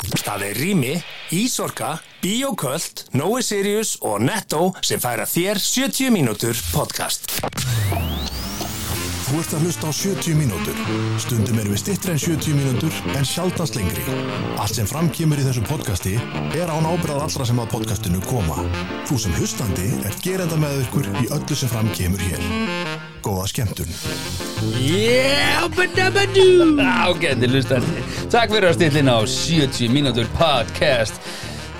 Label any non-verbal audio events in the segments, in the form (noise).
Það er Rými, Ísorka, Bíoköld, Nói Sirius og Netto sem færa þér 70 mínútur podcast. Þú ert að hlusta á 70 mínútur. Stundum erum við stittri en 70 mínútur en sjaldast lengri. Allt sem framkýmur í þessu podcasti er án ábyrðað allra sem að podcastinu koma. Þú sem hlustandi er gerenda með ykkur í öllu sem framkýmur hér. Góða skemmtun. Yeah, (laughs) badabadú Ágætti hlustandi Takk fyrir að stillina á 70 mínútur podcast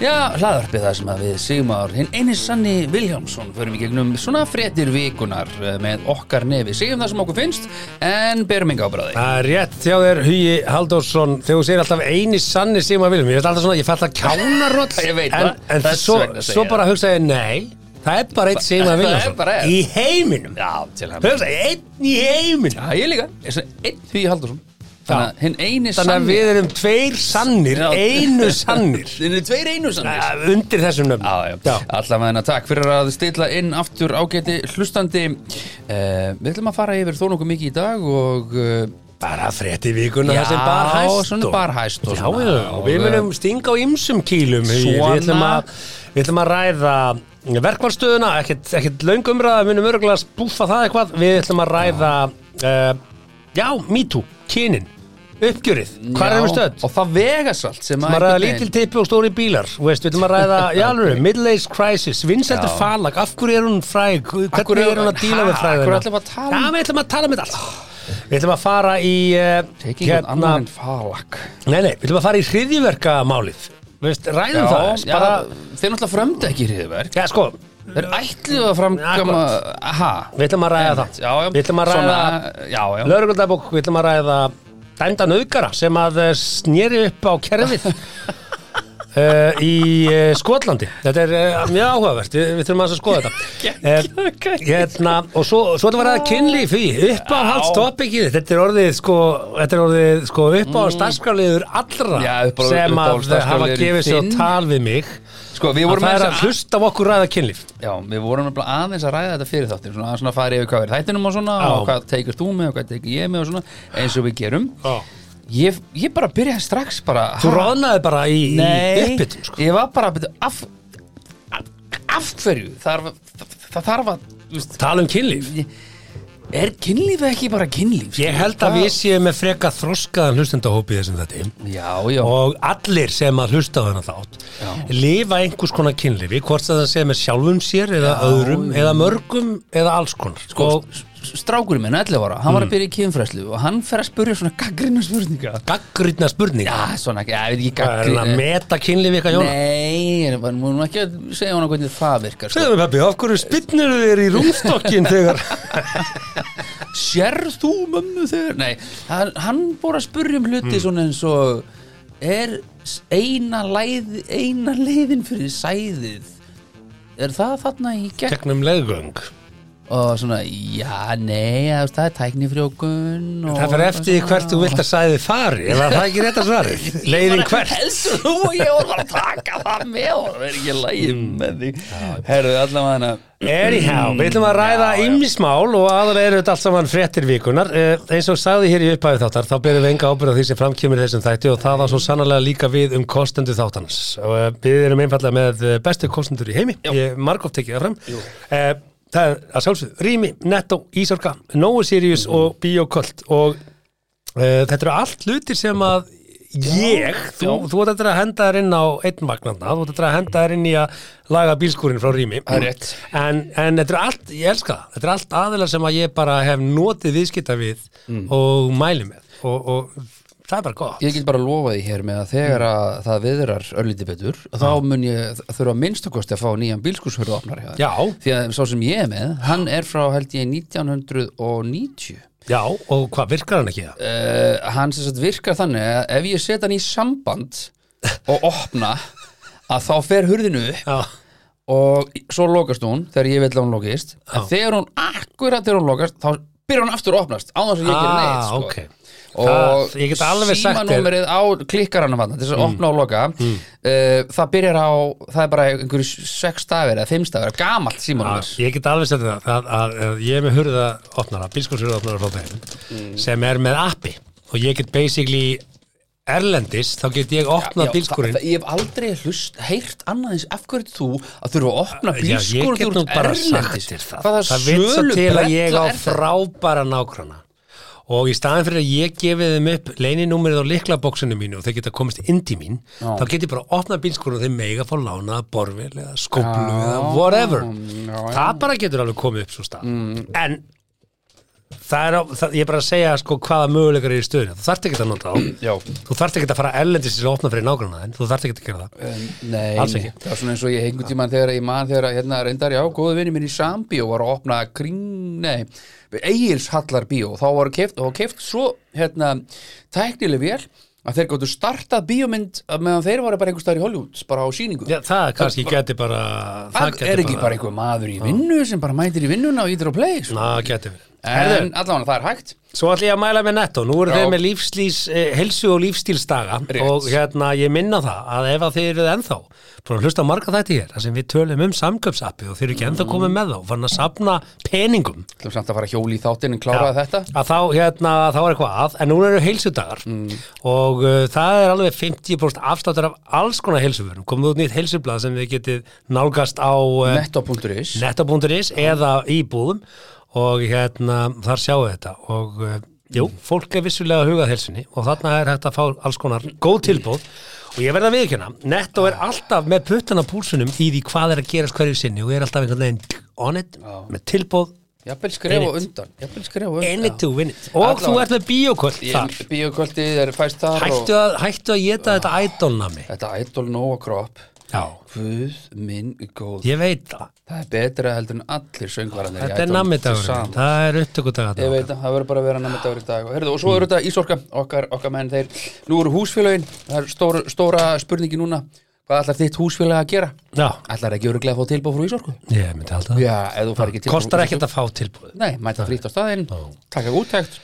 Já, hlaðarpið það sem að við Sigmar, hinn eini sanni Viljámsson förum í gegnum svona fréttir vikunar eh, með okkar nefi, segjum það sem okkur finnst en berum enga ábræði Það er rétt hjá þér, Hugi Halldórsson þegar þú segir alltaf eini sanni Sigmar Viljum ég er alltaf svona, ég fætt að kjána rótt (laughs) Ég veit en, það, en þess svo, vegna segi svo ég bara hugsa ég, nei það er bara eitt Sigmar (laughs) það er bara Viljum einn. í heiminum Já, til hann hugsa, einn í heiminum Já, ég líka, ég sem einn Hugi Haldursson Þannig að hinn eini þannig að sanni við erum tveir sannir Já. einu sannir (laughs) Þinn er tveir einu sanni eh, undir þessum nöfnum Já, já, allavega hennar takk fyrir að stilla inn aftur ágæti hlustandi eh, Við ætlum að fara yfir þó nokkuð mikið í dag og eh, bara frétti vikuna Já, það sem bar hæst svona og- bar hæst og Já, svona. já, og við Og, munum stinga á ymsum kýlum Hugi. Svona. við ætlum að, við ætlum að ræða verkvarstöðuna, ekkert, ekkert löngumræða, við munum örgulega að spúfa það eitthvað við ætlum að ræða uh, já, MeToo, kynin uppgjörið, hvað Já, erum við stödd? Og það vegas allt sem Við ætlum að ræða einhvern lítil tippi og stóri bílar þú veist, Við ætlum að ræða, (laughs) já alveg, middle age crisis Vinsendur Já. falag, af hverju er hún fræg Af Hvernig hverju- er hún að díla Ha, við fræguna af hverju ætlum við að tala um- Já, við ætlum að tala um þetta allt Við ætlum að fara í uh, veginn- Ekki einhvern annan en falag Nei, nei, við ætlum að fara í hriðjuverkamálið Þú veist, ræðum það aðeins, já, bara, þeir náttúrulega frömda ekki hriðverk já, sko, Þeir ætluðu að framkama Akkurat. Aha við ætlum að ræða það Já, já Við ætlum að ræða Svona, Já, já lögreglundabók, við ætlum að ræða dæmda nöðgara sem að eh, sneri upp á (laughs) kerfið uh, í uh, Skotlandi þetta er uh, mjög áhugavert, við, við þurfum aðeins að skoða þetta uh, hérna, og svo, svo þetta var að kynli fyrir uppáhaldstoppikið, þetta er orðið sko, þetta er orðið sko uppáhaldstafskráliður allra Mm. Já, uppáhalds- sem að uppáhaldsstarfskrárliður hafa gefið sér þinn. og tal við mig Sko, við að vorum það er aðeins að hlusta á okkur ræða kynlíf Já, við vorum nefnilega aðeins að ræða þetta fyrir þáttir Svona, svona farið yfir hvað er þættinum og svona Já. Og hvað tekur þú með og hvað tekur ég með og svona Eins og við gerum Já. Ég, ég bara byrjaði strax bara þú ha? ráðnaði bara í, í Nei, uppbytun sko. ég var bara að byrja af, af, af hverju þarf, það, það þarf að þú veist, tala um kynlíf er kynlíf ekki bara kynlíf sko? Ég held að við séum með freka þroskaðan hlustendahópið þessum þetta já, já, og allir sem að hlusta á þennan þátt Já. lifa einhvers konar kynlifi hvort sem það sé með sjálfum sér eða öðrum eða mörgum eða alls konar sko, og Mm. strákurinn minn 11 ára, hann var að byrja í kynfræslu og hann fer að spurja svona gaggrinu spurninga gaggrýtna spurning já, svona, já, ég veit ekki það er hann að gaggrinu meta kynlifi eitthvað Jóna nei, ég var nú ekki að segja hann hvernig það virkar sko. Segðu mér pabbi, af hverju spinnir þér í rúmstokkin þegar (laughs) sér þú mömmu þegar nei, hann, hann búr að spurja um hluti Hmm. svona eins og er s- eina, læð, eina leiðin fyrir sæðið er það þarna í gegn Tegnum leðgöng og svona, já, nei, það, það er tæknifrjókun og Það fyrir eftir því hvert þú vilt að sæði fari eða það er ekki rétt að svari Leiðin hvert Helstu þú og ég voru bara að taka það með og það er ekki lægið Hmm. með því Herðu allavega hana Anyhow, við ætlum að ræða ymnismál og aðalega eru þetta allt saman fréttir vikunar eh, eins og sagði hér í upphæðu þáttar þá berum við enga ábyrð á því sem framkýmur í þessum þætti og það var svo sannlega líka við um kostendu þáttanans og eh, við erum einfallega með eh, bestu kostendur í heimi, ég margóft tekið það fram eh, það er að sjálfsögðu Rými, Netto, Ísorka, Nóu Sirius og Bíoköld og eh, þetta eru allt hlutir sem að ég, þú, já. þú ert eftir að henda þér inn á einn vagnarna, þú ert eftir að henda þér inn í að laga bílskúrin frá Rými Það er rétt. En, en þetta er allt, ég elska það, þetta er allt aðila sem að ég bara hef notið viðskipta við og mæli með og, og það er bara gott. Mm. Ég get bara lofað því hér með að Mm. þegar að það viðrar örlítið betur þá mun ég þurfa að minnstakosti að fá nýjan bílskúshörðu opnar hjá þér. Já. Því að sá sem ég er með, hann er frá held ég 1990 uh, Já, og hvað virkar hann ekki það? Eh, Hann sem sagt virkar þannig að ef ég set hann í samband og opna að þá fer hurðinu upp Já, og svo lokast hún þegar ég vil að hún lokist en þegar hún, akkurat þegar hún lokast þá byrjar hún aftur að opnast á þess að ég gerir Ah, neitt sko. ókei. og Það- ég get alveg sagt þér- Mm. símanúmerið á klikkaranum þarna, til þess að opna og loka uh, það byrjar á, það er bara einhverju sex stafir eða fimm stafir, gamalt símanúmer að, Ah, ég get alveg setið það að, að, að ég er með hurða Mm. opnara, bílskúrshurða opnara frá bæðum sem er með appi og ég get basically erlendis þá get ég Ah, opnað Já, bílskurinn það- Ég hef aldrei hlust, heyrt annað eins af hverju ert þú að þurfa að opna Já, ég bílskurinn get nú bara sagt þér það Það veit svo til að ég á frábæra nákrana og í staðin fyrir að ég gefi þeim upp leininúmerið á liklabóksinu mínu og þeir geta komist inn til mín Já. þá get ég bara opnað bílskurinn og þeir mega fá lánaða borfil eða skóplu eða whatever það bara getur alveg komið upp svo stað Mm. en það er á, það, ég er bara að segja sko hvaða möguleikar er í stöðinu þú þarft ekki að nota á Já, þú þarft ekki að fara ellendis til að opna fyrir nágrana en þú þarft ekki að gera það um, nei, Alls nei. ekki. það var svona eins og ég hengur tímann þegar ég man þegar að, hérna reyndar, já, góðu vinni minn í Sambíó var að opna kring, nei Egils Hallar bíó, þá var keft og keft svo, hérna, tæknileg vel að þeir gáttu startað bíómynd meðan þeir voru bara einhver staðar í Hollywood bara á sýningu Já, það kannski geti bara Það gæti er ekki bara einhver maður í vinnu sem bara mætir í vinnuna og ítir á play sko. Ná, geti verið. Herðu, En allavega það er hægt svo ætlum ég að mæla með netto. Nú eru Já. þeir með lífslýs, eh, helsu og lífstílsdaga Rétt. og hérna ég minna það að ef að þeir eru ennþá, búin að hlusta á marga þætti hér, þar sem við tölum um samköpsappi og þeir eru ekki ennþá komið með þá, fann að sapna peningum. Þú ætlum samt að fara hjóli í þáttinn en kláraði Já, þetta að þá, hérna, þá er eitthvað að en núna eru heilsudagar Mm. og uh, það er alveg 50% afsláttur af alls konar heilsuverum komið út nýtt heilsublað sem þið getið nálgast á uh, Netto.is netto.is eða í búðum og hérna þar sjáu þetta og uh, jú, fólk er vissulega að hugað helsinni og þarna er hægt að fá alls konar góð tilbúð og ég verða að viðkjöna netto er alltaf með puttana púlsunum í því hvað er að gerast hverju sinni og er alltaf einhvern veginn on it með tilbúð Jafnvel skrifa Einmitt. undan Jafnvel skrifa in it undan to win it og Allavega. þú ert með bíoköld þar Ég- Bíókvöldið er fæst þar hættu og að, hættu að geta þetta idolnami Þetta idol Nova Crop já, Guð minn góð ég veit það Það er betra heldur en allir söngvaranir í þetta er Idol nammidagur saman. það er upptökudagur Ég veit að það verður bara að vera nammidagur í dag Heyrðu, Og svo eru þetta Ísorka, okkar, okkar menn þeir Nú eru húsfélagin, það er stór, stóra spurningi núna Hvað ætlar þitt húsfélag að gera? já, Ætlar ekki öruglega að fá tilbúð frá Ísorku? ég myndi alltaf Já, ef þú fær ekki tilbúð kostar ekkert að fá tilbúð Nei, mæta frýtt á staðinn, taka úttækt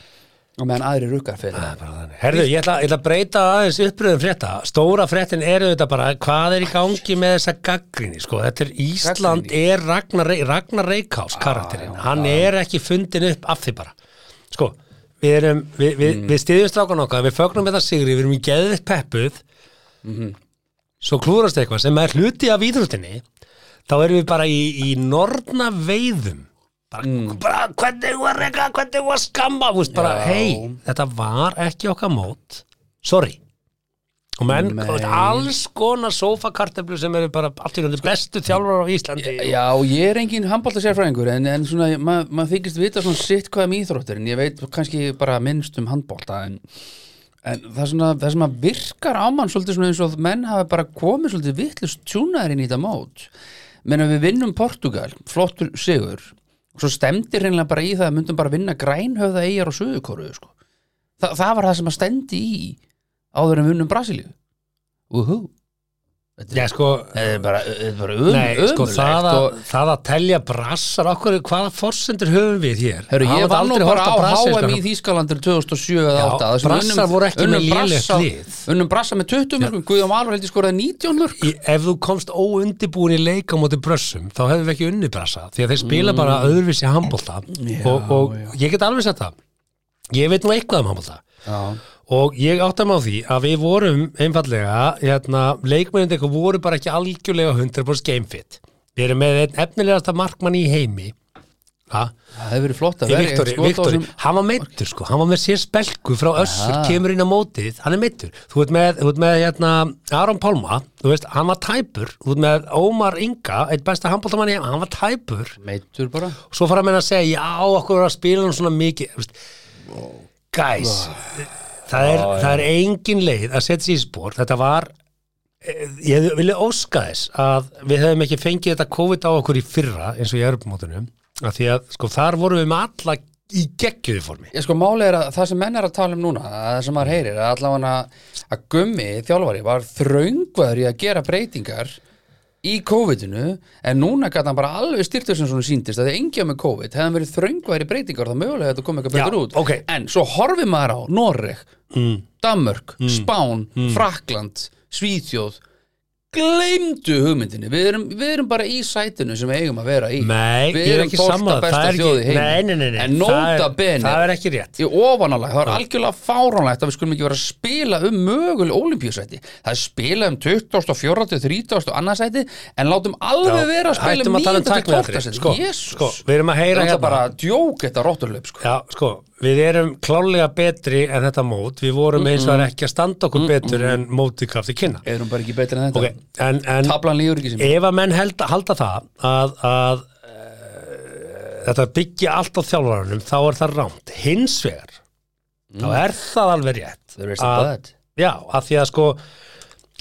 og meðan aðri rukkar fyrir það. Herðu, ég ætla, ég ætla að breyta aðeins uppröðum frétta. Stóra fréttin eru þetta bara, hvað er í gangi með þessa gaggrinni, sko? Þetta er Ísland Gagnrýni. Ah, er Ragnar, Rey- Ragnar Reykjás karakterinn. Hann er ekki fundin upp af því bara. Sko, við erum, við, við, Mm. við stiðjum strákan okkar, við fögnum þetta sigri, við erum í geðið peppuð, Mhm. svo klúrast eitthvað sem er hluti af íþróttinni, þá erum við bara í, í norna veiðum. Bara, bara hvernig var eitthvað, hvernig var skamma, þú veist, bara, Mm. Já. hei, þetta var ekki okkar mót, sorry. Og menn, Nei. og alls konar sofakarteflu sem eru bara allt í röndu bestu þjálfur á Íslandi. Já, ég er engin handbóltasérfræðingur en, en svona, maður ma þykist vita svona sitt hvað um íþróttir en ég veit kannski bara minnst um handbólta en, en það, er svona, það sem að virkar á mann svolítið svona eins og að menn hafa bara komið svolítið vittlust tjúnaðir inn í þetta mót menn að við vinnum Portugal, flottur sigur og svo stemdi hreinlega bara í það að myndum bara vinna grænhöfða eigjar og söðukoru sko. Þa, það var það sem að stemdi í áður en við vinnum Brasilíu Uhú Já, sko, Það er bara, það er bara um, nei, sko, það að, og það að telja brassar okkur, hvaða forsendur höfum við hér? Hörru, ég Hafa þetta var nú aldrei bara horft á brasilíska HM í fram- Þýskalandur 2007 eða Já, 2008 þar sem brassar unnum- voru ekki unnum með lélegt brassa- lið. Unnum brassa með 20 mörgum, Guðjón Valur heldur skoraði 19 mörg í, ef þú komst óundibúin í leik á móti brössum, þá hefðum við ekki unni brassa því að þeir spila bara öðruvísi handbólta og, og ég get alveg sett það ég veit nú eitthvað um handbólta og ég áttam á því að við vorum einfallega, hérna, leikmennið eitthvað voru bara ekki algjörlega 100% gamefit við erum með einn efnilegasta markmann í heimi ha? Það hefur verið flott að vera Viktori, Viktori, hann var meittur sko hann var með sér spelku frá össur kemur inn á mótið, hann er meittur þú ert með, þú ert með hérna, Aron Pálma þú veist, hann var tæpur, þú ert með Ómar Inga, eitt besta handbóltamann í heim hann var tæpur, Meittur bara og svo fara að menna að segja já, okkur var að spila hann svona mikið þú veist, guys það er, það er engin leið að setja sér í spór, þetta var eh, ég vilja óska þess að við hefum ekki fengið þetta COVID á okkur í fyrra eins og í erfumótunum af því að sko þar vorum við með alla í geggjöðu formi Ég sko máli er að það sem menn er að tala um núna að það sem maður heyrir, að allavega að gummi þjálfari var þröngvaður í að gera breytingar í COVID-inu, en núna gæti hann bara alveg styrtur sem svona síndist að það er engja með COVID, hefði hann verið þröngvaður í breytingar þá mögulega þetta kom eitthvað Já, betur út ókei. en svo horfið maður á Mm. Noreg mm. Danmörk, Spán, Frakland Svíþjóð gleymdu hugmyndinni við erum, við erum bara í sætinu sem við eigum að vera í Nei, við ég er erum ekki 12. sammála, besta það er þjóð í ekki, nei, heiminum. nei, nei, nei en það er- nota bene Það er ekki rétt í ofanálag, það er algjörlega fáránlegt að við skulum ekki vera að spila um mögul olimpíusæti, það er spila um 20. 40. 30. annarsæti en látum alveg Já, vera að spila hættum um að tala um 9. til tækniatriði, 12. sæti sko, Jesus. sko, við erum að heyra það hérna. er bara að djók þetta rótturlaup sko. Já, sko, við erum klálega betri en þetta mót, við vorum eins og ekki að standa okkur betur en mótið krafti kynna erum bara ekki betri en þetta Ok, en, en tablan líður ekki sem ef að menn held, halda það að, að uh, þetta byggja allt á þjálfarunum, þá er það rámt hins vegar, þá er það alveg rétt There is a but. Já, að því að sko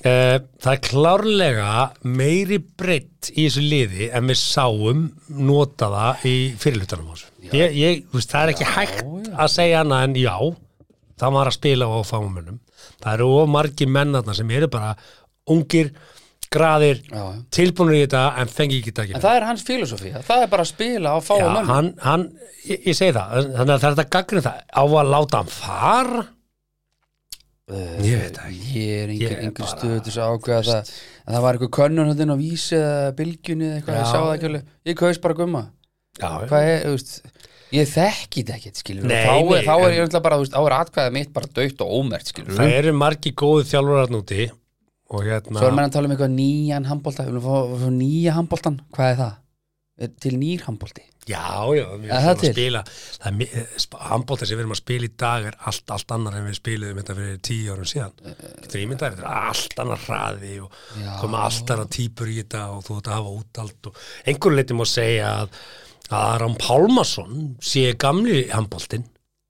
Uh, það er klárlega meiri breytt í þessu liði en við sáum notaða í fyrirlutanum ás. Ég, ég, þú veist, það er ekki hægt að segja annað en já, það var að spila á fámönnum. Það eru of margir mennarna sem eru bara ungir, graðir, Já, já. tilbúinir í þetta en fengi ekki en daginn. það er hans filosófía, það er bara að spila á Já, fáum mönnum hann, hann, ég, ég segi það, þannig að það er þetta gagnrið það. Á að láta hann fara? ég veit það ekki. Ég er Ég einhver, er einhver bara- stöð til þess að ákveða það en það var einhver könnun hérna á vísi eða bylgjunni eða eitthvað, ég Já. sá það ekki alveg ég kaus bara gumma, Já, já. hvað er, þú veist ég þekki þetta ekkert, skilur Nei, þá er, nei, þá er en- ég öll bara, þú veist, þá er atkvæðið mitt bara dögt og ómert, skilur Það eru margi góðu þjálfurar núti og hérna svo er menn að tala um eitthvað nýjan handbolta við viljum fá- fá nýja handboltan, hvað er það? Er Til nýr handbolti Já, já, við Er erum það að til? spila það er mi- eh, sp- handbolta sem við erum að spila í dag er allt, allt annar en við spilaðum þetta fyrir tíu árum síðan Getur ímyndað, þetta er allt annar hraði og Já. koma allt annar típur í þetta og þú ert að hafa útald og einhverju leiti má segja að að Aron Pálmarsson sé gamli handboltinn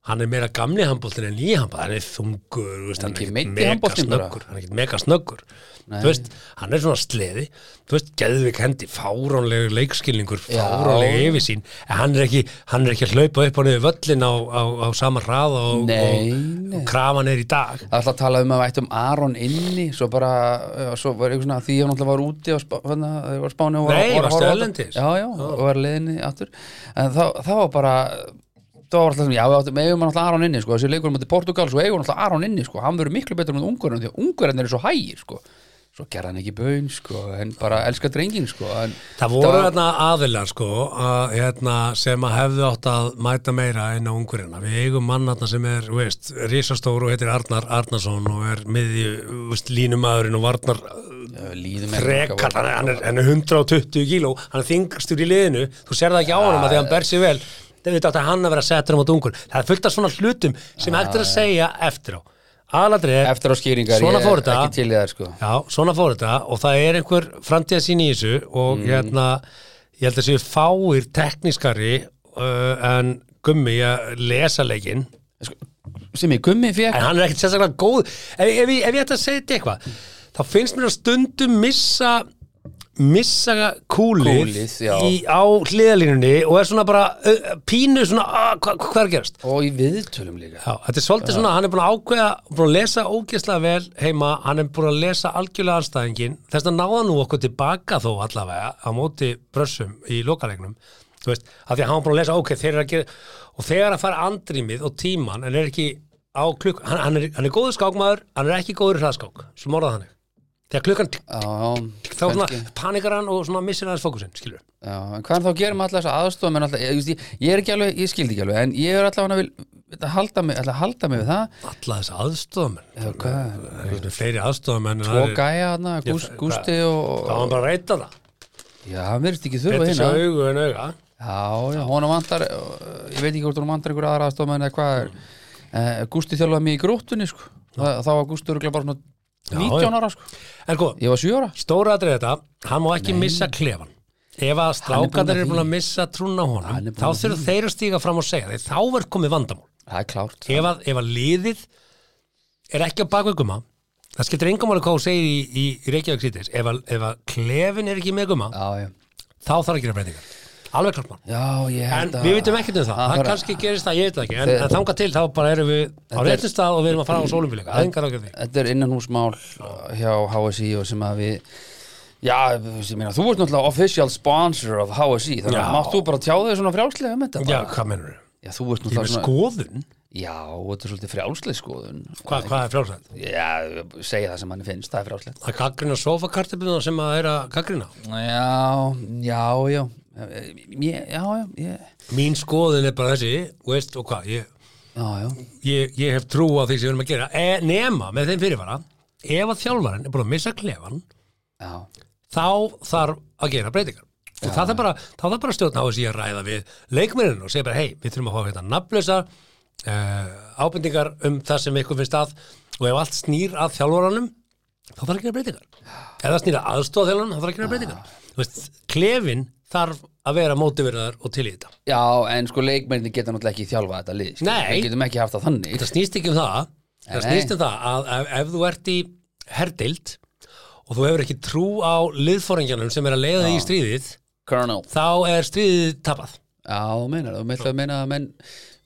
hann er meira gamli handboltinn en nýja handboltinn hann er þungur, þú veist, Er hann er ekki ekkert meiddi mega handboltinn bara? snöggur hann er ekkert mega snöggur þú veist, hann er svona sleði þú veist, geðvik hendi, fáránlegu leikskilningur, fáránlegu yfirsýn en hann er ekki, hann er ekki að hlaupa upp á niður völlin á, á, á sama hraða og, Nei, og, nei. og krafan er í dag Það er alltaf að tala um að vætt um Aron inni svo bara, já, svo var eitthvað svona því ég náttúrulega var úti á spá, hana, var spáni og var, Nei, var, varstu var, erlendis? Já, já, og var leiðinni aftur en þá, þá var bara þá var alltaf svona, já, við áttum, eigum hann alltaf Aron inni sko, þessi leikur mútið Portugal, svo eigum hann alltaf Aron inni sko, hann verður miklu betur með ungurinn því að ungurinn eru svo hægir sko, svo gerði hann ekki bön sko, en bara elska drengin sko, en Það voru var- þarna aðilar sko að, hérna, sem að hefðu átt að mæta meira inn á ungurina. Við eigum mann þarna sem er, þú veist, risastór og heitir Arnar Arnarsson og er miðju þú veist, línumadurinn og varnar Já, líðum frekar, hann er, hann, er, hann er 120 kíló, hann er þingstur í liðinu þú sér það ekki á honum að því að hann ber sig vel það veit átt að hann að vera settur um á dungur það er fullt af svona hlutum sem hægt er að segja eftir á, aðladrið eftir á skýringar, Svona ég fór er þetta. ekki til í það sko Já, svona fór þetta og það er einhver framtíðasín í þessu og hérna, ég held að séu fáir teknískari uh, en gummi að lesa leikinn sem ég gummi fekk en hann er ekkert sérstaklega góð ef, ef, ég- ef ég ætti að segja þetta eitthvað þá finnst mér að stundum missa missa kúlið, Kúlið, já. í, á hliðalínunni og er svona bara uh, pínu svona, uh, hvað hva er að gerast? og í viðtölum líka Já, þetta er svolítið svona, hann er búin að ákveða búin að lesa ógeðslega vel heima hann er búin að lesa algjörlega anstæðingin þess að náða nú okkur tilbaka þó allavega á móti brössum í lokalegnum þú veist, af því að hann var búin að lesa ok, þeir eru að gera, og þegar að fara andrýmið og tíman, en er ekki á klukk, hann, hann, er, hann er góður skákmaður hann er ekki góður í hraðskák, svo morða þannig þegar klukkan, tikk, Já, þá svona kannski. panikar hann og svona missir hans fókusinn, skilur Já, en hvað er þá að gera með alltaf þessa aðstofa menn alltaf, ég, þú veist, ég, ég er ekki alveg, ég skildi ekki alveg en ég er alltaf hann að vil vil halda mig, alltaf halda mig við það alla þess aðstofamenn Já, hvað, fleiri aðstofamenn en og aðrir. gæja hann gúst, hvað- Gústi þá var og hann bara að reyta það já, hann verðist ekki þurfa Þetta hérna sé augu en auga já, já, honum vantar uh, ég veit ekki hvort honum vantar einhver aðra aðstofa menn eða hvað Mm. er uh, Gústi þjálfaði mig í gróttunni sko. Þa, þá var Gústi örgulega bara Já, svona 19 já. ára, sko. En góð, ég var 7 ára stóra atrið þetta, hann má ekki missa klefan. Ef að strákarnir búinn að eru búin að missa trúna á honum, þá þurfum þeir að stíga fram og segja þeir, þá verð komið vandamál. það er klárt Ef að, ef að liðið er ekki á bakveg gumma, það skiptir engum alveg hvað hún segir í, í, í Reykjavík sýtis, ef, að- ef að klefin er ekki með gumma, já, já, þá þarf að gera breytingar. Alveg klart mál. já, ég En held að- við vitum ekkert um það, að það fara- kannski gerist það, ég veit það ekki, en, Þeir- en þangað til þá bara erum við á er- réttum stað og við erum að fara á sólumfélika, það er engar ágjörði. Þetta er innanhúsmál hjá HSI og sem að við Já, þú veist, ég meina, þú ert náttúrulega official sponsor of HSI þannig Já. að mátt þú bara tjá þig svona frjálslega um þetta Já, bara. hvað mennur Já, sko- Já, þú ert nú Ég það með skoðun Já, þetta er svolítið frjálsleik skoðun Hva, Hvað er frjálsætt? Já, segja það sem hann finnst, það er frjálslegt Að gaggrina sofakartöfluna sem að er að gaggrina Já, já, já Já, já, já, Mín skoðun er bara þessi þú veist, og hvað, ég, já, já. ég, ég hef trú á því sem við erum að gera e, nema með þeim fyrirvara ef að þjálfarinn er búin að missa klefan já. þá þarf að gera breytingar og það þarf bara, þá þarf bara stjórn á þessi að ræða við leikmenninu og segja bara hei, við þurfum að fá hérna nafnlösa uh, ábendingar um það sem ykkur finnst að og ef allt snýr að þjálfaranum þá þarf að gera breytingar ef það snýr að aðstofa þjálfaranum, þá þarf að gera breytingar þú veist, klefin þarf að vera mótiveraðar og til í þetta Já, en sko leikmennin geta náttúrulega ekki þjálfa þetta lið skilur. Nei. Við getum ekki haft það þannig þetta snýst ekki um það það Nei. snýst um það að ef, ef þú ert í herdild og þú hefur ekki trú á liðfóringjanum sem er að leiða þig í stríðið Colonel þá er stríðið tapað Já, þú meinar, það. þú meinar að meina að menn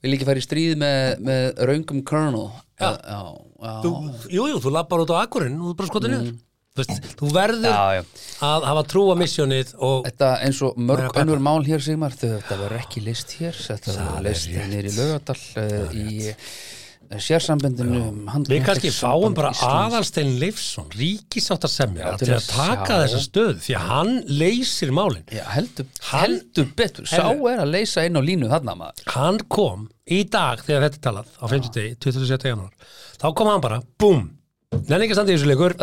vil ekki fara í stríð með, með raungum Colonel Já, já, já þú, jú, jú, þú lappar út á akkurinn og þú bara skotir niður þú, veist, þú verður Mm. Já, já. að hafa trú á missjónið og Þetta eins og mörg Peppa. önnur mál hér Sigmar, þau þetta verður ekki list hér þetta verður list niður í laugadal í eh, sérsambundinu um handknattleik- við kannski fáum samband bara Íslands. aðalstein Leifsson, ríkisáttarsemja Já, til að taka sjá. þessa stöð því að hann leysir málin Já, heldur, Hann- heldur betur, sá Heyrðu. er að leysa inn á línu þarna maður hann kom í dag þegar þetta er talað á 50 degi, 27. janúar þá kom hann bara, búm nenni ekki að standa í þessu leikur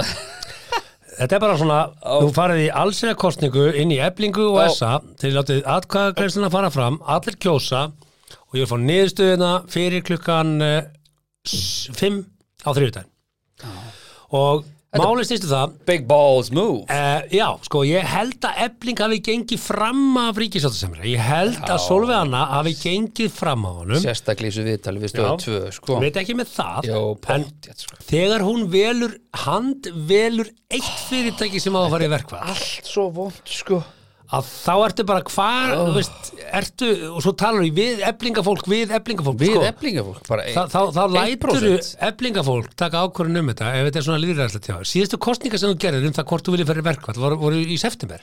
þetta er bara svona, þú farið í allsina kostningu inn í eblingu og Ó. essa til látið atkvæðagreisluna fara fram allir kjósa og ég vil fá niðurstöðuna fyrir klukkan 5 á þriðutæn og málið snýstu það Big balls move Uh, já, sko, ég held að ebling hafi gengið fram af ríkisáttarsemra ég held að Já. Solveig Anna hafi gengið fram af honum Sérstaklega í þessu viðtali við stöðu Já. tvö sko. Ég veit ekki með það Jó, en pottjætt sko. þegar hún velur hand velur eitt fyrirtæki sem á að fara í verkvæð Allt svo vond sko að þá ertu bara hvar þú veist, ertu, og svo talar við við eblingafólk, við eblingafólk Við sko, eflingafólk bara þá, þá, þá 1%. lætur eblingafólk taka ákvörðin um þetta ef þetta er svona líðræðslega tjá síðustu kostninga sem þú gerir um það hvort þú viljið fyrir verkvæð voru, voru í september,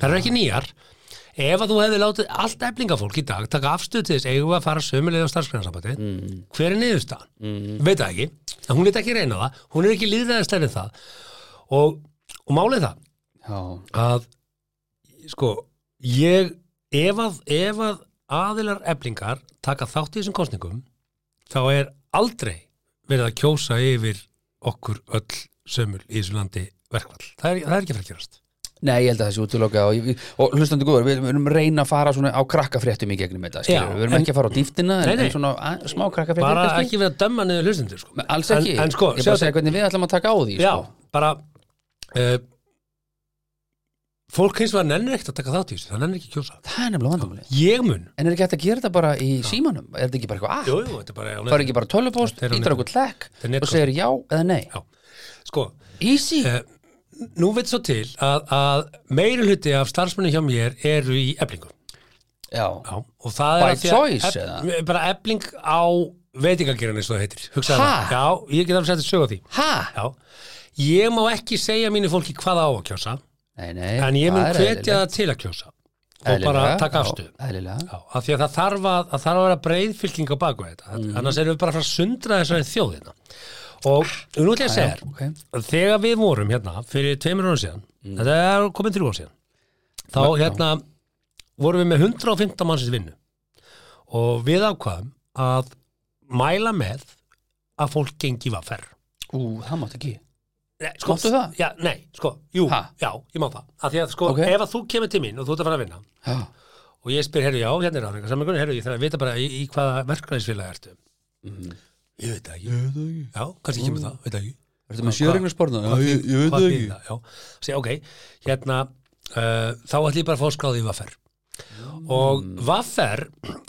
það eru ekki nýjar ef að þú hefði látið allt eblingafólk í dag taka afstöð til þess eigum við að fara sömulega á starfsgrænarsambandi hver er niðurstaðan? veit það ekki, en hún veit ekki reyna það hún er ekki líðræðislega en það og, og málið það Já, að sko, ég ef að, ef að aðilar eblingar taka þátt í þessum kostningum þá er aldrei verið að kjósa yfir okkur öll sömul í þessu landi verkvall. Það er, það er ekki fyrir að gerast. Nei, ég held að það sé útiloka og, ég- og hlustandi góður, við erum að reyna að fara svona á krakkafréttum í gegnum þetta, skilur Já, við, við erum en- ekki að fara á dýftina en, Nei, nei. en svona að, smá krakkafréttum Bara ekki verið að dömma niður hlustendur, sko. Alls ekki, En, en sko, ég sjá bara segja hvernig við ætlum að taka á því Já, sko. bara uh, fólk hins vegar nennir ekkert að taka þátt í þessu, það nennir ekki að kjósa. Það er nefnilega vandamálið Ég mun, En er ekki hægt að gera þetta bara í símanum? Er þetta ekki bara eitthvað app? jú, jú, þetta er bara Það er ekki bara tölvupost, Þetta er á ítar netinu. okkur tlekk Þetta er netkosning. og segir já eða nei Já, sko, Easy, Eh, Nú veit svo til að, að meiri hluti af starfsmenni hjá mér eru í eblingu já, Já, og það By er af því að choice, eða? bara ebling á veitingageran eins og það heitir Hugsaðu Ha? það. Já, ég get alveg sett að sög á því ha? Já, ég má ekki segja mínu fólki hvað á að kjósa Nei, nei, en ég mun það er hvetja eðlilegt. það til að kjósa og bara Eðlilega, taka já, afstöð Eðlilega, Já, af því að það þarf að, að þarf að vera breið fylking á baku þetta, Mhm. annars erum við bara að fara að sundra þessari þjóðina og nú ætla ég að segja þér, ok. þegar við vorum hérna fyrir tveimur árum síðan Mm. þetta er komin þrjú árum síðan þá hérna vorum við með 115 mannsins vinnu og við ákvaðum að mæla með að fólk gengi vaffer ú, það mátt ekki Nei, sko, Eh, Máttu það? Já, nei, sko, jú, Ha? já, ég má það af því að sko, Ok. ef að þú kemur til mín og þú ert að fara að vinna Já, og ég spyr, herru, já, hérna er áfengar samankunni, herru, ég þarf að vita bara í, í hvaða verkræðisfélag ertu. Mm. Ég veit það ekki. Ég veit það ekki. Já, kannski kemur það, veit það ekki. ertu með sjöregnarsporna? Já, ég, ég Hvað veit það þýðir ekki það? Já, segja, ok, hérna, uh, þá ætlum ég bara að fá skráði í Vaffer. Og Vaffer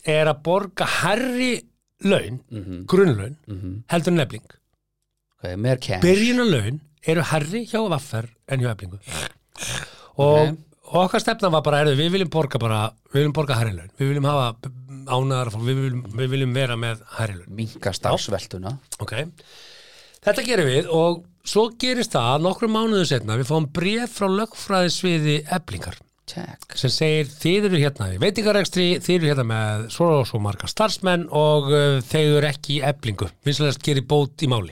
er að borga herri laun, grunnlaun, heldur en efling. Ok, meir kæm Byrjunarlaun eru herri hjá Vaffer en hjá eflingu. Og Ok. og okkar stefna var bara, heyrðu, við viljum borga bara, við viljum borga herri laun, við viljum hafa ánæðar, við viljum, við viljum vera með herri laun. Minka starfsveltuna Ok, þetta gerum við og svo gerist það að nokkrum mánuðum setna við fáum bréf frá lögfræðisviði eblingar Tech sem segir þið eru hérna í veitingarekstri, þið eru hérna með svona og svo marga starfsmenn og uh, þeir eru ekki í eblingu, vinsalegast gerir bót í máli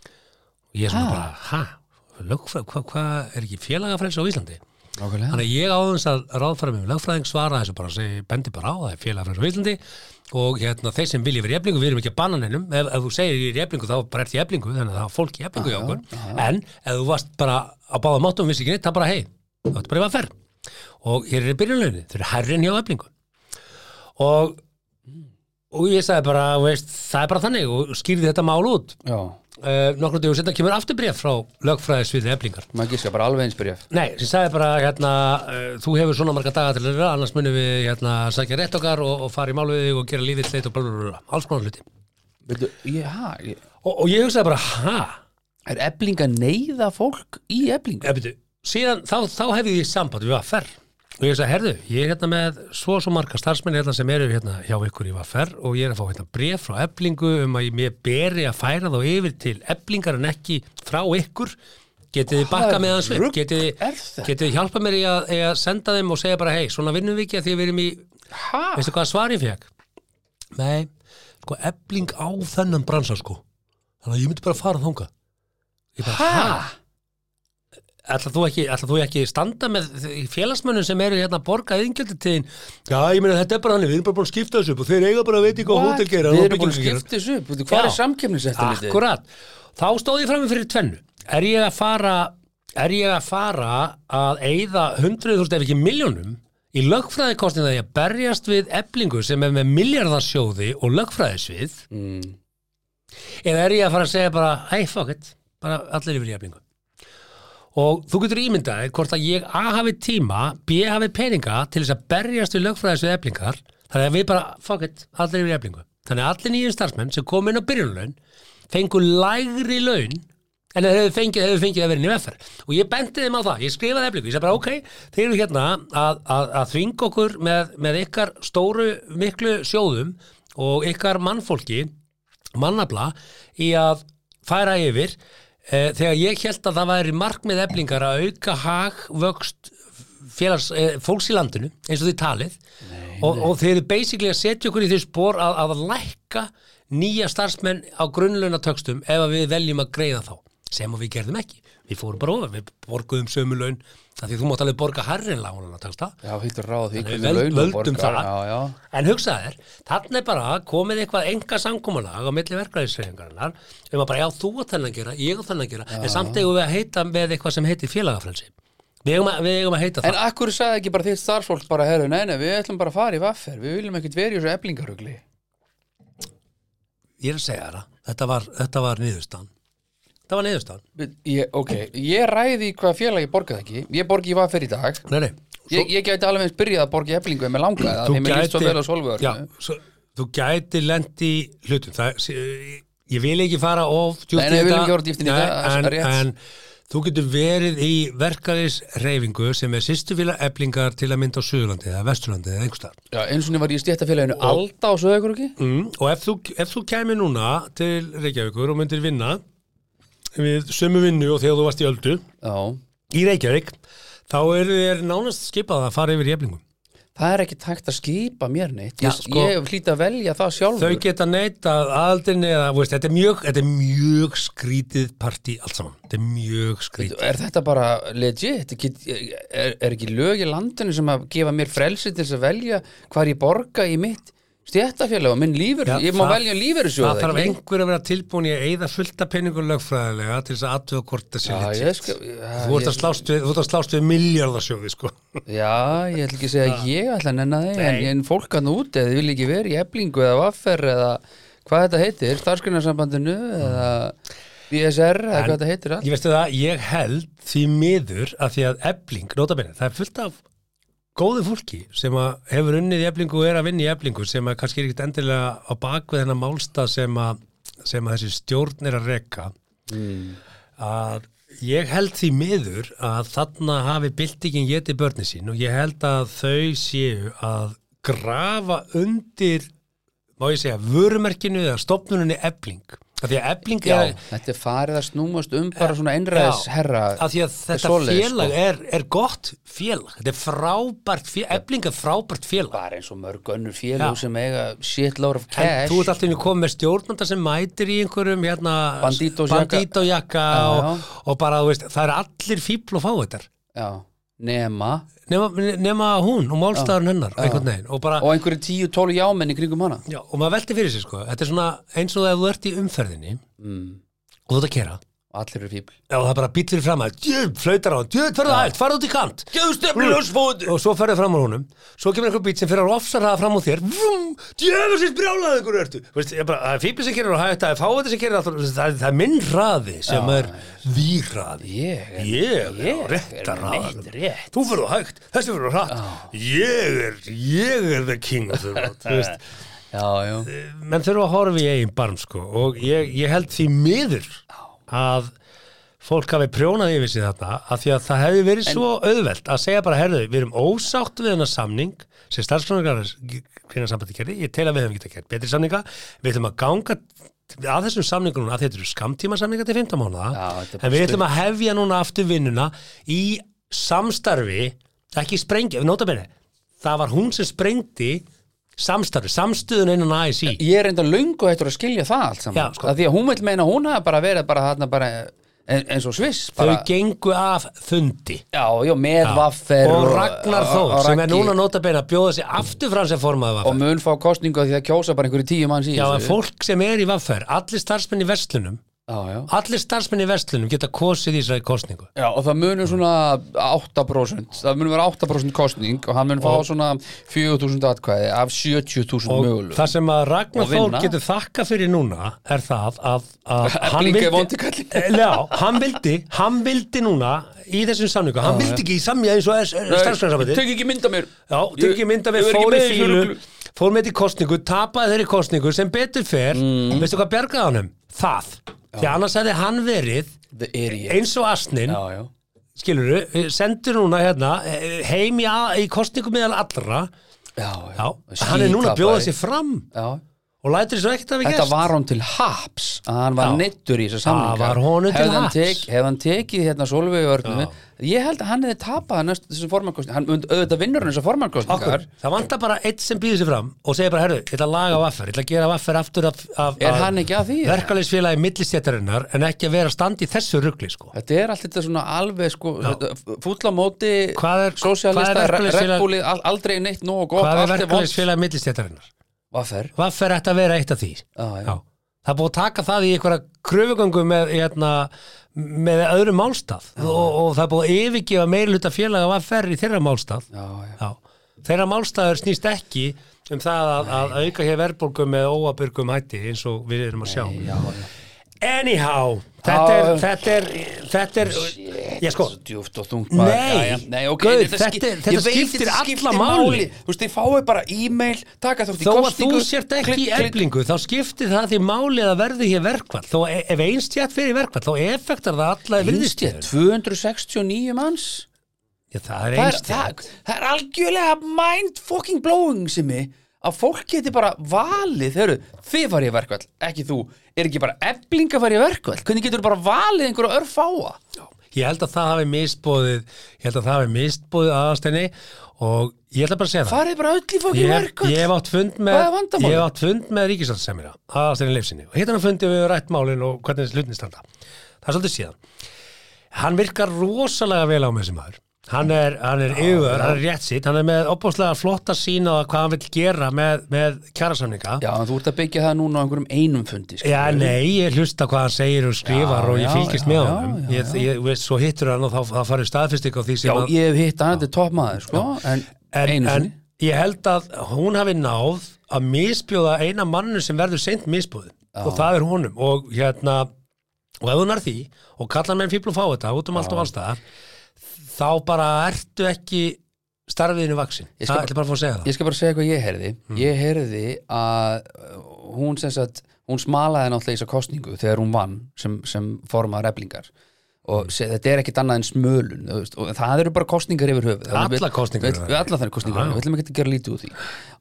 og ég er svona Ha? bara, hæ, lögfræð, hvað hva, er ekki félagafræðis á Íslandi? Nákvæmlega Þannig að ég áðins að ráðfæra mig um lögfræðing svara þessu bara, segi, bendi bara á það er félagafræðis á Íslandi og hérna, þeir sem vilja verið í eblingu, við erum ekki að banna neinum ef, ef þú segir ég er í eblingu þá bara ert í eblingu þannig að það er fólk í eblingu hjá okkur en ef þú varst bara á báða máttum vissi ekki neitt, það bara hei, þá ertu bara í vaffer og hér er byrjunlaunin, þeir eru herrin hjá eblingu og og ég sagði bara, þú veist, það er bara þannig og skýrði þetta mál út Já, uh, nokkrum dögum setna kemur afturbréf frá lögfræðisviði eblingar maður gíska bara alveg eins byrjaf Nei, sem sagði bara hérna, uh, þú hefur svona marga daga til að vera, annars munum við hérna, sækja rétt okkar og, og fara í mál við þig og gera lífið leitt og blablabla, alls konar hluti. Veitu, já, ég- Og, og ég hugsaði bara, ha, er ebling að neyða fólk í eblingu? eða byrju, Eh, síðan þá, þá hefði ég samband við Vaffer og ég sagði, herðu, ég er hérna með svo og svo marga starfsmenn hérna sem eru hérna hjá ykkur í Vaffer og ég er að fá hérna bref frá eblingu um að ég mér beri að færa þá yfir til eblingar en ekki frá ykkur getið þið bakka með hans við rugl getið þið- er þetta? getið þið hjálpa mér í að, í að senda þeim og segja bara, hei, svona vinnum við ekki að því við erum í Hæ? Veistu hvað svar ég fekk? Nei, sko ebling á þennan bransa sko Þannig að ég myndi bara fara þanga Ég bara, hæ? Ætla þú ekki, ætla þú ekki standa með þ- félagsmönnum sem eru hérna að borga yðingjöldutíðin Já, ég meina þetta er bara hann, við erum bara búin að skipta þessu upp og þeir eiga bara að veit ekki hvað hótel gera Við og erum búin að byggingar gera." skipta þessu upp veitu, Já. Hvað er samkemniseftirlitið? um Akkurat, þá stóð ég frammi fyrir tvennu Er ég að fara Er ég að fara að eyða 100.000 ef ekki miljónum í lögfræðikostin að ég að berjast við eblingu sem er með miljardasjóði og lögfræðisvið Mm. eða er ég að fara að segja bara hey fuck it, bara allir yfir í eblingu og þú getur ímyndað þér hvort að ég A hafi tíma, B hafi peninga til þess að berjast við lögfræðisvið eblingar þannig að við bara fuck it, allir yfir í eblingu þannig að allir nýjum starfsmenn sem kom inn á byrjunlaun fengu lægri laun en þeir hefðu fengið, hefðu fengið að vera inn í veffer og ég bendi þeim á það, ég skrifaði eflingu ég sagði bara ok, þeir eru hérna að, að, að þvinga okkur með, með ykkar stóru miklu sjóðum og ykkar mannfólki mannabla í að færa yfir e, þegar ég held að það væri markmið eflingar að auka hag vöxt félags, e, fólks í landinu eins og því talið og, og þeir eru basically að setja okkur í því spór að, að lækka nýja starfsmenn á grunnlauna töxtum ef að við veljum að greiða þá sem að við gerðum ekki, við fórum bara ofar við borguðum sömu laun af því þú mátt alveg borga hærrin lánuna töxta Já, hittur ráð því Þannig hvernig við völd- launum völdum borgar. það. Já, já en hugsaðu þér, þarna er bara komið eitthvað enga samkomulag á milli verklæðisreifingarinnar um að bara já þú að þennan gera, ég að þennan gera en samt eigum við að heita með eitthvað sem heitir félagafrelsi við eigum að, við eigum að heita það En akkur sagði ekki bara þitt starfsfólk bara herru, nei, nei, við ætlum bara að fara í vaffer Við viljum ekkert vera í þessu eblingarugli ég er að segja þér það, þetta var, þetta var niðurstan þetta var niðurstan Við- ég, Ok, ég ræði í hvað félagi borgaði ekki Ég borgi í vaffer í dag nei, nei, Ég, ég gæti alveg eins byrjað að borga í eblingu ef mér langaði það, Þú þegar mér líst svo gætir- vel á solvöður já, svo, þú gæti lent í hlutum það, sé- ég, ég vil ekki fara of djúpt Nei, í nei, við viljum þetta. ekki fara djúpt í Nei, þetta, það er rétt. en, en þú getur verið í verkaðis reyfingu sem er sýstufíla eblingar til að mynda á Suðurlandi eða Vesturlandi eða einhverstaðar Já, eins og niður var ég í stéttafélaginu Alda á sögur ekki? mm, og ef þú, ef þú kæmi núna til Reykjavíkur og myndir vinna við sömu vinnu og þegar þú varst í öldu Já, í Reykjavík þá eru þér nánast skipað að fara yfir í eblingum það er ekki tækt að skipa mér neitt Já, Ég, sko- ég hlýta að velja það sjálfur þau geta neita aðaldinni eða, þú veist, þetta er mjög, þetta er mjög skrítið partí allt saman, þetta er mjög skrítið Er þetta bara legit? Get, er, er ekki lög í landinu sem að gefa mér frelsi til þess að velja hvað ég borga í mitt stjættafélag og minn lífur, Já, ég má það- velja lífur það þarf einhver að vera tilbúin í að eyða fullta penningur lögfræðilega til þess að atveða hvort þessi Já, ég skal, þú ert já, að slást við, þú ert að slást við miljardasjóði sko. ég, já, ég ætla ekki að segja að ég ætla að nenna þeim, en, en fólk hann út eða þið vil ekki vera í eblingu eða vaffer eða hvað þetta heitir, starfskrinnarsambandinu eða BSR eða hvað þetta heitir allt. ég veistu það, ég held því miður að því að ebling, notabene, það er fullt af góðu fólki sem að hefur unnið í eblingu og er að vinna í eblingu sem að kannski er ekkert endilega á bakvið þennan málstað sem að, sem að þessi stjórn er að reka að ég held því miður að þarna hafi byltingin getið börni sín og ég held að þau séu að grafa undir má ég segja, vörumerkinu eða stopnunni ebling Af því að ebling Já, er þetta er farið að snúmast um bara svona einræðis herra af því að þetta svoleiðis, sko. félag er, er gott félag þetta er frábært félag, ebling er frábært félag bara eins og mörg önnur félug Já. sem eiga shit load of En cash þú ert alltaf inn í komið með stjórnanda sem mætir í einhverjum hérna, Bandítósjakka. bandítójakka Já, og, og bara, þú veist, það er allir fíbl og fá þetta Já, nema nema, nema hún og málstæðarinn hennar einhvern veginn og bara, og einhverju tíu, tólu jámenn í kringum hana já, og maður velti fyrir sér sko þetta er svona eins og þegar þú ert í umferðinni mm. og þú ert að kera og allir eru fíbl og það bara býtlir fram að djöf, flautar á hann, djöf, farðu hægt, farðu út í kant og svo ferðu fram á honum svo kemur einhver bít sem fyrir að ofsarraða fram á þér djöfusins brjálaði ykkur ertu Þú veist, ég bara, það er fíbli sem gerir og hægt það er fáið sem gerir allt, þú veist, það, er- það er minn raði sem er výraði ég er ég er á Ég rétta er raðanum. neitt rétt. þú fyrir að hægt, þessi fyrir að hratt ég er, ég er the king of the (laughs) road þú veist, já, já, menn þurfa að horfa í eigin barm sko og ég, ég held því miður að fólk hafi prjónað yfir sig þetta af því að það hefði verið svo auðvelt að segja bara herðu, við erum ósátt við hennar samning sem starfsfræðingarsambandi gerði ég tel að við hefum getað gert betri samninga við ætlum að ganga að þessum samningunum að þetta eru skamtíma samninga til 15 mánuða Já, þetta er bara en við stuð. ætlum að hefja núna aftur vinnuna í samstarfi ekki sprengja, nota bene það var hún sem sprengdi samstarfi, samstöðun innan ASI ég er enda löngu hættur að skilja það allt saman Já, sko. að því að hún vil meina að hún hafa bara verið bara þarna bara en, eins og sviss bara, þau gengu af fundi já, já, með vaffer og Ragnar Þór og sem er Raggi núna nota beina að bjóða sig aftur fram sem formaði og vaffer mun fá kostningu af því að kjósa bara einhverju tíu manns í já, en þessu. fólk sem er í vaffer, allir starfsmenn í verslunum já, já. allir starfsmenn í verslunum geta kosið í þessari kostningu Já, og það munur svona 8% það munur vera 8% kostning og hann mun fá svona 4.000 atkvæði af 70.000 og mögulegum það sem að Ragnar Og Þór vinna. getur þakka fyrir núna er það að, (laughs) að hann Eh, Efling er vondi kallinn. já, hann vildi hann vildi núna í þessum samningu hann vildi ekki í samja eins og starfsmennsambandi Tök ekki mynda mér Já, tekið mynda ég við er ekki fór í með í fílu lögreglu. fór með til kostningu, tapaði þeirri kostningu sem betur fer, Mm. veistu hvað bjargaði honum? Það, því annars hefði hann verið The idiot eins og asnin, Já, já skilur du sendur núna hérna eh, heim í, a- í kostningu meðal allra Já, Já, hann er núna að bjóða sig fram Já, og lætur þessu ekkert að við þetta gerst var hann til haps að hann var Já. neittur í þessu Það samlinga var honum til haps. Hefði hann tekið hérna Solveig Örnu Ég held að hann hefði tapað næst þessu formankostningar Hann mynd- auðvitað vinnur hann þessu Okkur, formankostningar það vantar bara eitt sem býður sér fram og segir bara, herru, ég ætla að laga vaffer, ég ætla að gera vaffer aftur af, af, Er hann ekki að því? eða? verkalýsfélagi millistjættarinnar en ekki að vera að standa í þessu rugli sko. Þetta er allt þetta svona alveg sko fúllamóti, Hvað er- hvað sósialista, er verkalýðsfélag- reppbúlið, aldrei neitt nóg og gott, Hvað er allt er vond. verkefælisfélag millistjættarinnar? Vaffer. Hvað fer þetta að vera eitt af því? Já, já. Það er búið að taka það í einhverja kröfugöngu með, hérna, með öðrum málstað og, og það er búið að yfirgefa meirluta félaga hvað fer í þeirra málstað. Já, já. Já. Þeirra málstaður snýst ekki um það að, að auka hér verðbólgu með óabyrgum hætti eins og við erum að sjá. Já, já. Anyhow, þetta er, Já. þetta er, þetta er, ég sko, Svo djúft og þungt Nei, maður. Já, já. Nei, ok, Guð, en þetta- skip- þetta ég veit skiptir þetta alla máli. Þú veist, þið fáið bara e-mail, taka þátt í þó að þú kosningu, sért ekki klikk, í klikk. eblingu þá skiptir það því máli að verði hér verkvall þó e- ef einstjætt fyrir verkvall þá effektar það alla Finnst ég virðistjætt 269 manns? það er Það er, það, einstjætt það er algjörlega mind fucking blowing sem ég að fólk geti bara valið þeirru, þið farið í verkvall, ekki þú er ekki bara eblinga farið í verkvall hvernig getur bara valið einhverja örfáa ég held að það hafi misbóðið ég held að það hafi misbóðið aðastenni og ég ætla bara að segja það farið bara öll í fokkin ég, hef- verkvall ég hef átt fund með Hvað er vandamálið? ég hef átt fund með ríkisaldssemina aðastenni leifsinni og hittan að fundi við rætt málin og hvernig hlutin standa það er svolítið síðan hann virkar rosalega vel á með þessi maður hann er, hann er yfir, hann er rétt sitt hann er með opbúslega flotta sín á hvað hann vil gera með, með kjarasamninga já, en þú ert að byggja það núna á einhverjum einum fundi sko. skilur Já, við. nei, ég hlusta hvað hann segir og skrifar Já, og ég já, fylgist já, með já, honum já, ég, ég, ég, svo hittur hann og þá, þá farið staðfistik á því sem já, að ég hef hitt hann, þetta er toppmaður sko, en, en, einu en sinni ég held að hún hafi náð að misbjóða eina mannu sem verður seint misbjóðin og það er honum og hérna, og ef hún er því og kallar menn fíbl og fá þetta út um allt og allstaðar þá bara ertu ekki starfiðinu vaksin það Ég skal- ætla bara að fá að segja það Mm. ég skal bara segja hvað ég heyrði ég heyrði að uh, hún sem sagt, hún smalaði náttúrulega í þessa kostningu þegar hún vann sem, sem formar eblingar og se, þetta er ekkit annað en smölun þú veist, og það eru bara kostningar yfir höfuð Allar Þannig við- kosningar við, eru við, allar þannig kostningar, Já, já. við ætlum ekki að gera lítið úr því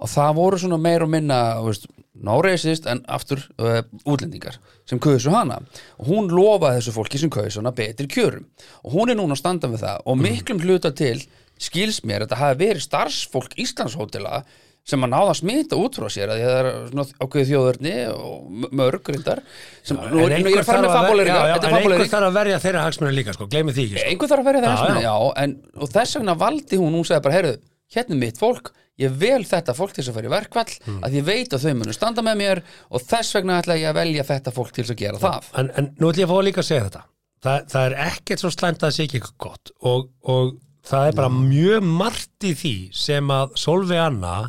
og það voru svona meir og minna þú veist, no racist en aftur uh, útlendingar sem kausu hana og hún lofaði þessu fólki sem kausu hana betri kjörum og hún er núna að standa við það Mhm. og miklum hluta til skils mér að það hafi verið starfsfólk Íslandshótela sem að náða að smita út frá sér að því að það er svona ákveðið þjóðurni og m- mörg reyndar sem, nú, er- nú er ég að já, já, en fara með einhver fabóleirika þarf að verja þeirra hagsmunni líka sko, gleymi því ekki sko. einhver þarf að verja Já, það hagsmuna, já. já, en, og þess vegna valdi hún, hún sagði bara, heyrðu, hérna er mitt fólk ég vel þetta fólk til þess að fara í verkvall Hmm. að ég veit að þau munu standa með mér og þess vegna ætla ég að velja þetta fólk til þess að gera það en, en nú ætlum ég að fá líka að segja þetta Þa, það er ekkert svo slæmt að það sé ekki eitthvað gott og, og það er bara mjög margt í því sem að Solveig Anna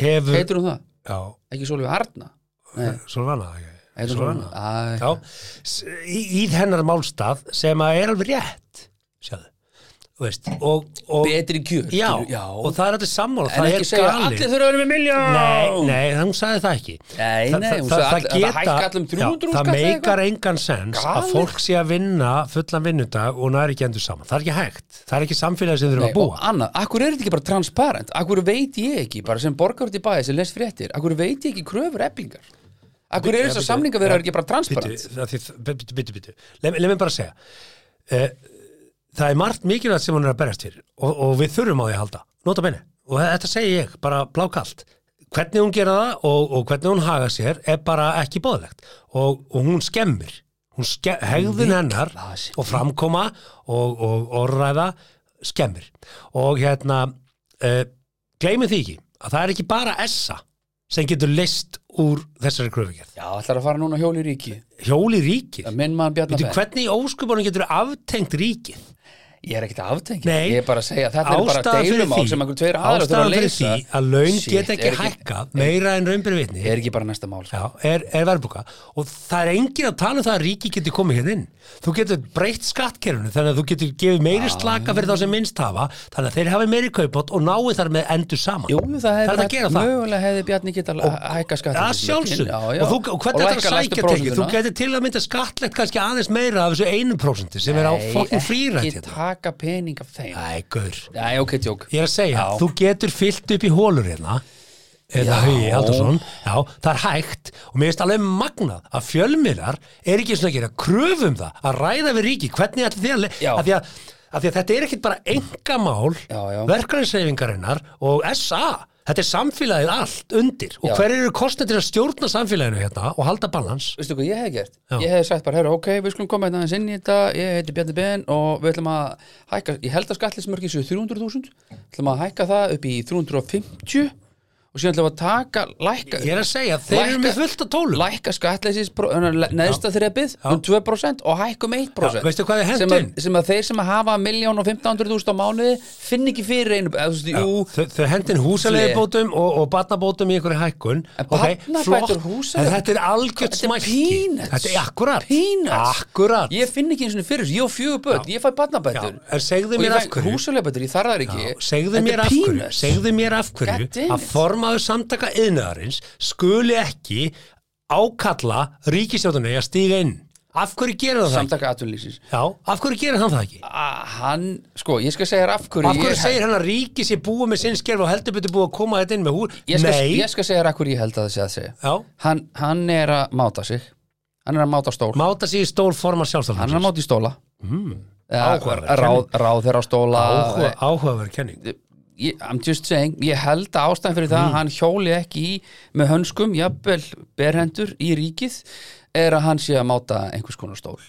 hefur heitur hún það, já, ekki Solveig Arna Nei, Solveig Anna ekki? heitir hún Solveig Solveig Arna Æ, já, s- í, í hennar málstað sem að er alveg rétt sjáðu þú veist, og, og, betri kjör já, skilur, já. og það er allir sammála en það ekki er segja, galið. allir þurfa að vera með miljón Nei, nei, hún sagði það ekki Nei, nei, hún sagði all- það um hækka allum 300 Það kall eða meikar eitthvað. engan sens að Galið. fólk sé að vinna fullan vinnudag og næri ekki endur saman Það er ekki hægt, það er ekki samfélagið sem við þurfum Nei, að og búa annað, akkur er þetta ekki bara transparent akkur veit ég ekki, bara sem borgar út í bæði sem les fréttir, akkur veit ég ekki kröfur eblingar akkur er þess að samlinga vera ekki bara transparent Byttu, byttu, byttu Leð mér bara að segja Eh, Það er margt mikilvægt sem hún er að berjast fyrir og, og við þurfum á því að halda, nota benni og þetta segi ég, bara blákalt hvernig hún gera það og, og hvernig hún haga sér er bara ekki bóðlegt og, og hún skemmir hún ske hegðun hennar Vitleysi. og framkoma og, og orðræða skemmir og hérna uh, gleymið því ekki að það er ekki bara essa sem getur list úr þessari kröfugjörð Já, ætlar að fara núna á hjóli í ríki hjóli ríkið Það minn mann Bjarnar Veitu, Fell hvernig í óskupunum getur aftengt ríkið? Ég er ekkert að aftengja, Nei. ég er bara að segja Þetta er bara Ástæðan fyrir deilumál því, sem einhver tveir aðra þurfa ástæðan að fyrir leysa því að laun Shit, geta ekki er hækkað meira en raunbyrði vitni Er ekki bara næsta mál sko. Já, er, er verðbúka og það er engin að tala um það að ríki getur komið hérna inn þú getur breytt skattkerfinu þannig að þú getur gefið meiri slaka fyrir þá sem minnst hafa þannig að þeir hafi meiri kaupátt og náu þar með endur saman Jú, það Það hefði er að gera það. Mögulega hefði Bjarni geta hækka skattum að sjálfsög og, þú, og hvernig þetta er að sækja tekið þú getur til að mynda skattlegt kannski aðeins meira af þessu einu prósenti sem er á fokkin frírætt Ekki hérna. taka pening af þeim Æ, gaur Nei, ok, tjók Ég er að segja, Já. þú getur fyllt upp í hólur hérna eða Já. Hugi Haldursson já, það er hægt og mér finnst alveg magnað að fjölmiðlar er ekki svona að gera kröfum það að ræða við ríki, hvernig ætli þið að, le- Já. af því að, af því að þetta er ekkit bara engamál Já, já. verkarinsreyfingarinnar og SA þetta er samfélagið allt undir og Já. hver eru kostnir til að stjórna samfélaginu hérna og halda balans veistu hvað ég hef gert? Já. Ég hef sagt bara, herra, ok, við skulum koma hérna aðeins inn í þetta, ég heiti Bjarni Ben og við ætlum að hækka, ég held að skatlismörkið séu 300.000, ætlum að hækka það upp í 350 og síðan ætlum við að taka, lækka ég er að segja, þeir eru með fullt af tólum lækka skattleysis neðsta þreppið um 2% og hækkum 1% Já, veistu hvað er hent sem, að, inn? sem að þeir sem að hafa 1.500.000 á mánuði finn ekki fyrir einu eða, þú veist, jú, þau, þau hendin húsaleigubótum og, og barnabótum í einhverju hækkun En ok, barnabætur, flott. húsaleigubætur- en þetta er algjört Þetta er smælki peanuts. þetta er akkurat Peanuts. akkurat ég finn ekki eins og fyrir þessu, ég á fjögur börn, ég fæ barnabætur Já, en segðu og mér ég af hverju. húsulegbætur, ég þarf það ekki Já, segðu Þetta mér er af hverju peanuts. segðu mér af God hverju damn að it. formaður samtaka yðnaðarins skuli ekki ákalla ríkistjóðunni að stíga inn af hverju gerir það það ekki? samtaka atvinnlýsins Já, af hverju gerir hann það ekki? A- hann, sko, ég skal segja þér af hverju Af hverju ég, segir hann að ríki sé búið með sinnskerfi og heldur betur búið að koma þetta inn með húr? ég, skal, Nei, ég skal segja þér af hverju ég held að það sé að segja já, hann, hann er að máta sig hann er að máta stól máta sig í stól formar hann er sjálfstofnum. að máta í stóla mm, áhugaverð ráð, ráð þeirra stóla Áhuga, áhugaverð kenning. ég, I'm just saying, ég held að ástæðan fyrir það að hann hjóli ekki í með hönskum, jafnvel berhendur í ríkið er að hann sé að máta einhvers konar stól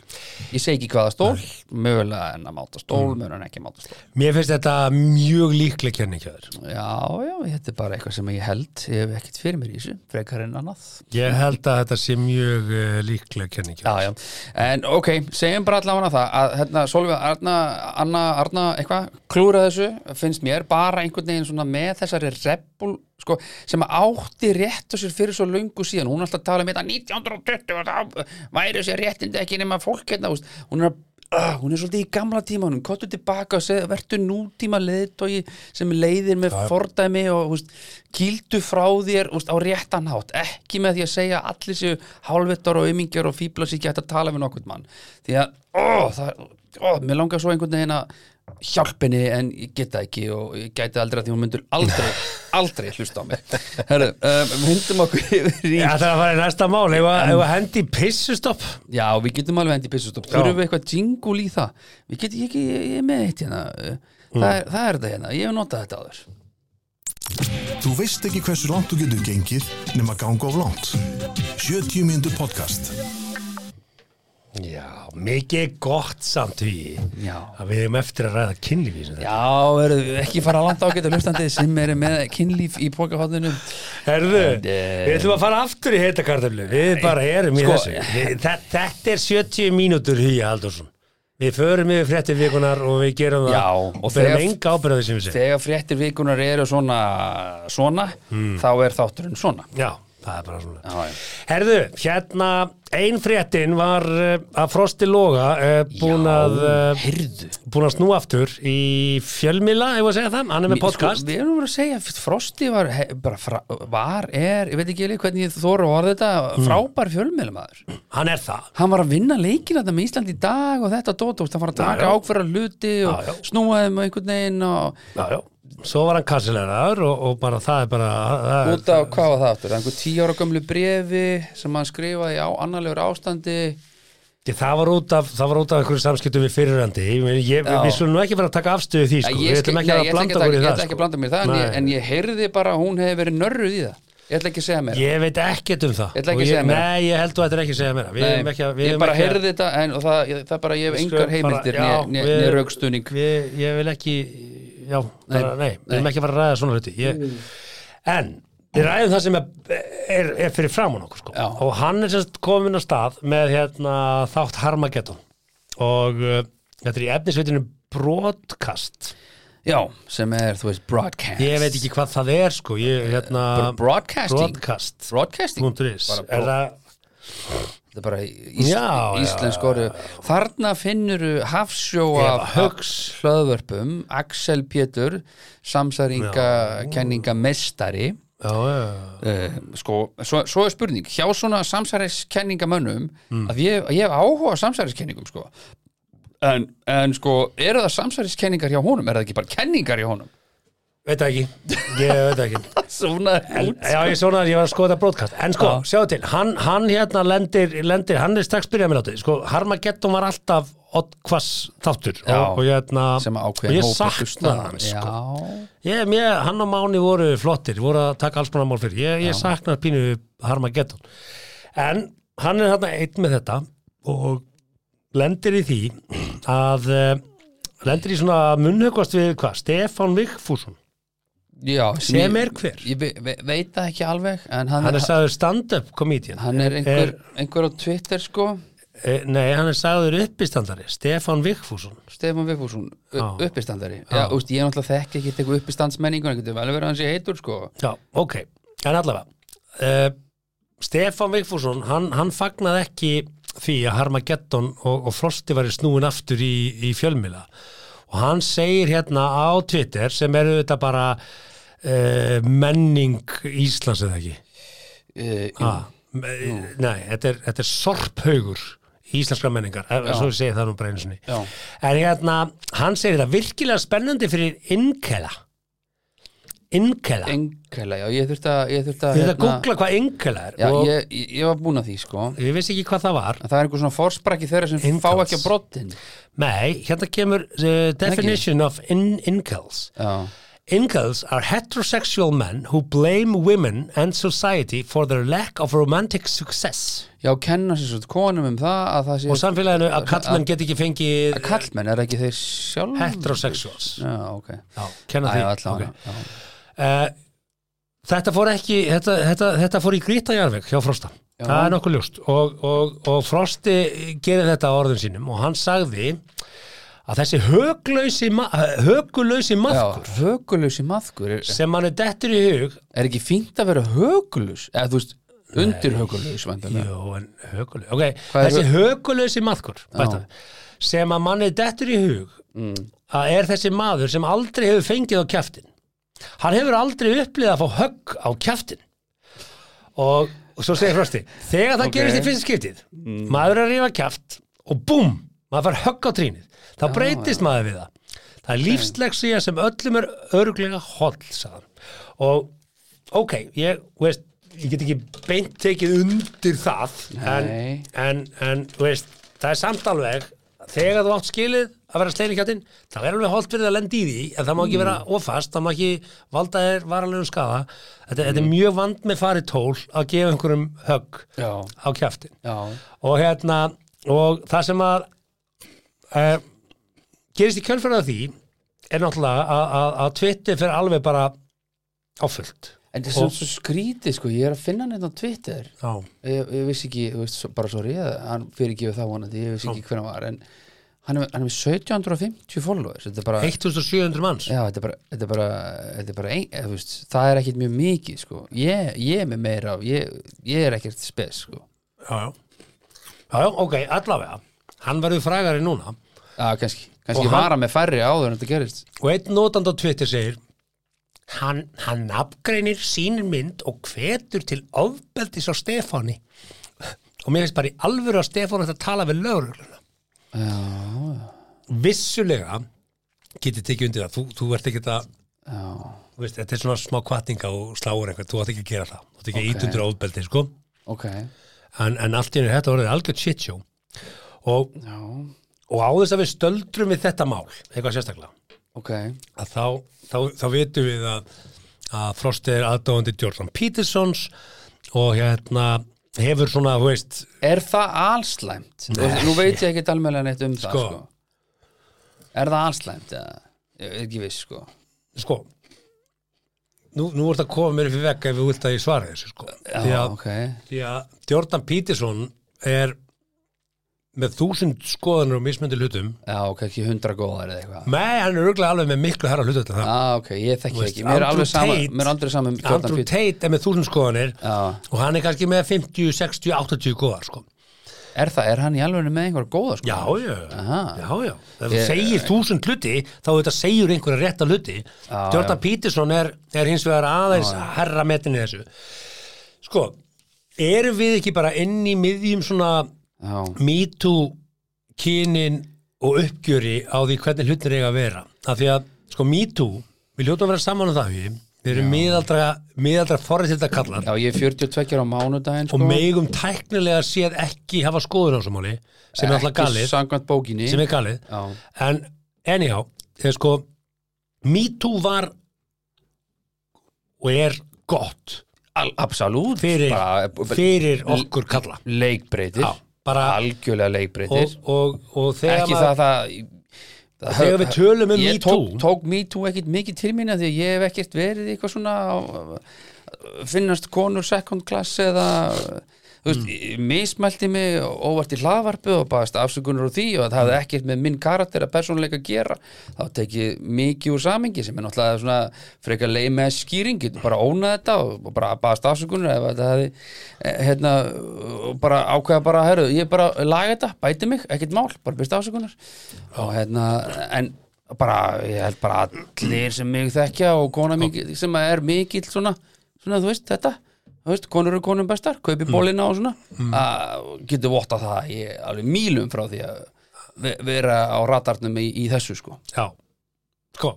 ég segi ekki hvaða stól, mögulega en að máta stól, mögulega en ekki að máta stól Mér finnst þetta mjög líkleg kenning hjá þér. já, já, þetta er bara eitthvað sem ég held ég hef ekkert fyrir mér í þessu, frekar en annað Ég held að þetta sé mjög uh, líkleg kenning hjá þér. já, já, en ok, segjum bara allavega það að hérna, Solveig Arna, Anna, Arna eitthvað, klúra þessu, finnst mér bara einhvern veginn svona með þessari rebbul, sko, sem að átti rétt á sér fyrir svo löngu síðan, hún er alltaf að tala um þetta 1920 og þá væri sér réttindi ekki nema fólk hérna, þú veist, hún er að Uh, hún er svolítið í gamla tímanum, kottu tilbaka og segja, vertu nútíma leiðtogi sem leiðir með fordæmi og húst, kýldu frá þér húst, á réttan hátt, ekki með því að segja að allir séu hálfettar og umingjar og fíbla sér ekki hægt að tala við nokkurn mann því að, ó, það, ó, mér langar svo einhvern veginn að hjálp henni en ég geta ekki og ég gæti aldrei að því hún myndur aldrei, aldrei hlusta á mig Herru, um, hundum okkur yfir í Já, það er að fara í næsta mál, ef að ef að hendi í pissustopp Já, við getum alveg hendi pissustopp Já. Þurfum við eitthvað jingul í það Við getum ekki, ég, ég er með eitt hérna Mm. það, er, það er þetta hérna, ég hef notað þetta áður Þú veist ekki hversu langt þú getur gengið nema ganga of langt. 70 mínútur podcast. Já, mikið gott samt hugi Já. að við hefum eftir að ræða kynlífi sem þetta. Já, eru ekki fara langt ágæta hlustandi sem eru með kynlíf í pokahóðinu Herðu, eh, við ætlum að fara aftur í heita kartöflu Við bara erum í sko, þessu við, það, Þetta er 70 mínútur hugi, Haldursson Við förum yfir fréttir vikunar og við gerum það Já, og og ferum þegar- enga ábyrðið sem við segja Þegar fréttir vikunar eru svona svona, Mm. þá er þátturinn svona Já, það er bara svona Já, já. Herðu, hérna ein fréttin var uh, að Frosti Loga uh, búin Já, að uh, heyrðu. búin að snúa aftur í fjölmila, ég var að segja það, hann er með Mér- podcast sko, Við erum verið að segja, Frosti var, he, bara fra, var, er, ég veit ekki alveg hvernig ég þóra að orða Mm. þetta, frábær fjölmiðlumæður hann er það Hann var að vinna leikina þetta með Ísland í dag og þetta dót, þú veist, hann var að Já, taka já. ákverða hluti og Já, já. snúa þeim á einhvern veginn og já, já. Svo var hann kassilegar og, og bara það er bara það er, út af hvað var það aftur, einhver tíu ára gömlu brefi sem hann skrifaði á annarlegur ástandi Ég, það var út af, það var út af einhverju samskiptum við fyrirrandi ég, meina, ég, Já. við skulum nú ekki fara að taka afstöðu því sko. Nei, við ég skil- ætlum ekki nei, að ég ætla blanda okkur í ég það sko. ætla ekki að blanda mér í það, en Nei. ég, en ég heyrði bara að hún hefði verið nörruð í það ég ætla ekki að segja mér Ég veit ekkert um það Ég ætla ekki Og að segja meira. Nei, ég held þú ættir ekki að segja meira Við Nei, erum ekki að við ég erum bara ekki að- heyrði þetta en og það, ég, það er bara ég hef engar Skulum bara- heimildir já, við- niður raukstunning við- Ég vil ekki Já, bara, nei, við erum ekki að fara að ræða svona hluti ég, Mm. En við ræðum það sem er, er, er fyrir framan okkur sko. Já. og hann er semst komin að stað með hérna, þátt Harmageddon og uh, þetta er í efnisveitinu broadcast já, sem er, þú veist, broadcast ég veit ekki hvað það er sko ég, hérna, Bara Eh, broadcasting broadcast broadcasting .is. Bara er bro- það þetta er bara ís, Já, já, íslensk orðu þarna finnuru hafsjóa Eva af Hugs. hlöðvörpum Axel Pétur samsæringa kenninga mestari já, já, uh, sko, svo, svo er spurning hjá svona samsæriskenningamönnum Mm. að ég, ég hef áhuga á samsæriskenningum sko. En, en sko eru það samsæriskenningar hjá honum er það ekki bara kenningar hjá (laughs) honum veit það ekki ég veit það ekki svona En, já, ég svona að ég var að skoða broadcast En sko, Já. sjáðu til, hann, hann hérna lendir, lendir, hann er strax byrjað með látið Sko, Harmageddon var alltaf oddhvass þáttur Já. og, og hérna, sem að og ákveðin ég hópur sakna hlustaði. hann sko. já, ég, mér, Hann og Máni voru flottir, voru að taka alls konar mál fyrir Ég, ég sakna pínu Harmageddon En hann er þarna einn með þetta og lendir í því að eh, lendir í svona munnhöggvast við hvað, Stefán Vigfússon já sem ég- er hver? ég ve, ve, veit það ekki alveg en hann, Hann er sagður stand-up komedian hann er einhver, einhver á Twitter sko Eh, Nei, hann er sagður uppistandari Stefán Vigfússon Stefán Vigfússon, Já. uppistandari já, úst, ég náttúrulega þekki ekki eitthvað uppistandsmenningun getur vel verið að hann sé heitur sko Já, ok, en allavega uh, Stefán Vigfússon hann, hann fagnaði ekki því að Harmageddon og, og Frosti var í snúin aftur í, í fjölmila og hann segir hérna á Twitter sem eru þetta bara uh, menning Íslands eða ekki uh, ha, mm. Nei, þetta er, þetta er sorphaugur íslenska menningar, ef- svo ég segi það nú bara einu sinni Já. en hérna, hann segir þetta virkilega spennandi fyrir innkela innkela Ein, Engela, já, ég þurfti að ég þurfti að, hérna, við þetta googla hvað innkela er já, og ég, ég, ég, ég var búin að því, sko en vissi ekki hvað það var það er einhver svona fórsprakki þeirra sem fá Innkast. ekki að brottin nei, hérna kemur the definition of in, inkels já, Incels are heterosexual men who blame women and society for their lack of romantic success já, kenna sér svona konum um það að það sé og samfélaginu að kallmenn get ekki fengið að kallmenn, er það ekki þeir sjálf heterosexuals já, ok Já, kenna Æ, já, því allavega, okay. uh, Þetta fór ekki þetta, þetta, þetta fór í grýta jarðveg hjá Frosta Já. það er nokkuð ljóst og, og, og Frosti gerir þetta á orðum sínum og hann sagði að þessi höglausi ma- högulausi já, já, maðkur högulösi maðkur er, sem hann er dettur í hug er ekki fínt að vera högulös eða þú veist, undir högulös vandalega, Jó, en höguleg, ok, Hvað er þessi högulösi maðkur bæta, við, sem að manni dettur í hug Mm. að er þessi maður sem aldrei hefur fengið á kjaftin hann hefur aldrei upplýð að fá högg á kjaftin og, og svo segir Frosti þegar það Ok. Mm. gerist í fyrsta skiptið maður er að rífa kjaft og búm, maður fær högg á trínið þá breytist maður við það Það er lífslegsíja sem öllum er örglega holl, sagðan. Og, ok, ég, þú veist, ég get ekki beint tekið undir það, en, Nei. en, en, þú veist, það er samt alveg, þegar þú átt skilið að vera sleiningjáttinn, það er alveg holdt fyrir að lenda í því, en það má ekki vera ofast, það má ekki valda þér varalegum skaða. Þetta, þetta er mjög vand með farið tól að gefa einhverjum högg Já. á kjaftin Já, og hérna og það sem að uh, gerist í kjölfærið af því er náttúrulega að- að- að Twitter fyrir alveg bara áfullt en þetta er svo skrítið sko, ég er að finna hann hérna á Twitter Já, ég, ég vissi ekki, þú veist, svo- bara sorry að hann fyrir ekki við það vonandi, ég vissi ekki hver hann var en hann er, með- hann er með 1750 followers, þetta er bara 1700 manns Já, þetta er bara, þetta er bara, þetta er bara ein, eða, þú veist, það er ekkert mjög mikið sko. ég, ég er með meira af ég, ég er ekkert spes sko. já, já. já, já, ok, allavega hann verður frægari núna að, kannski, kannski Og hann... hann- vara með færri áður en þetta gerist og einn notand á Twitter segir hann, hann nafngreinir sínir mynd og hvetur til ofbeldis á Stefáni og mér finnst bara í alvöru að Stefán ætti að tala við lögregluna já, vissulega getið tekið undir það, þú, þú ert ekki að já, þú veist, þetta er svona smá kvatninga og sláur eitthvað, þú átt ekki að gera það þú átt ekki að Ok. ít undir ofbeldi, sko ok en, en allt í einu er þetta orðið algjörð shitshow og, já, og á þess að við stöldrum við þetta mál, eitthvað sérstaklega ok að þá, þá, þá vitum við að, að Frosti er aðdóðandi Jordan Petersons og hérna hefur svona, þú veist er það allslæmt? Þú veist, nú veit ég ekkert almennlega neitt um Sko. það sko. er það allslæmt? eða? ég er ekki viss sko. sko nú, nú ert að koma mér fyrir vekk ef við vilt að ég svara þessu sko já, því að, ok því að Jordan Peterson er með þúsund skoðanur og mismöndi hlutum já, ok, ekki hundra góðar eða eitthvað Nei, hann er auðvitað alveg með miklu herra hlutu til það Ah, ok, ég þekki Þú veist, ekki, mér er Andrew alveg sama Tate- mér er aldrei sama um Jordan Andrew Peterson. Tate er með þúsund skoðanir Já. og hann er kannski með 50, 60, 80 góðar sko. Er það, er hann í alveg með einhver góða sko? Já, já, Aha. já, já Ef þú Ég- segir þúsund hluti, þá þetta segir einhverja rétta hluti Jordan Peterson er, er hins vegar aðeins herra metin í þessu Sko, erum við ekki bara inn í miðjum svona Já, me too kynin og uppgjöri á því hvernig hlutin eiga að vera af því að sko me too við hljótum að vera saman um það við við erum miðaldra, miðaldra forréttinda kallar já, ég er 42 á mánudaginn sko. og megum tæknilega séð ekki hafa skoður á þessu máli sem er alltaf Ekki galið Samkvæmt bókinni sem er galið Já, en anyhow, þegar sko me too var og er gott al, absolút fyrir, bara, fyrir okkur kalla Leikbreytir Já, bara- Algjörlega leikbreytir og, og, og þegar Ekki maður það það Þegar við tölum um Ég Me tók, Too. tók Me Too ekkit mikið til mín af því að ég hef ekkert verið í eitthvað svona á- finnast konur second class eða þú veist, mm. mismælti mig óvart í hlaðvarpu og baðast afsökunar úr því og það hafði ekkert með minn karakter að persónuleika að gera þá tekið mikið úr samingi sem er náttúrulega svona frekar leið með skýringi bara ónað þetta og og bara baðast afsökunar ef þetta hefði eh, hérna, og bara ákveða bara heru, ég bara laga þetta, bæti mig, ekkert mál bara byrst afsökunar og hérna, en bara, ég held bara allir sem mig þekkja og kona mikið, sem að er mikill svona, svona þú veist, þetta þú veist, konur eru konum bestar, kaupi Mm. bólina og svona að getur votta það ég er alveg mýlum frá því að ve- vera á ratarnum í, í þessu sko Já, sko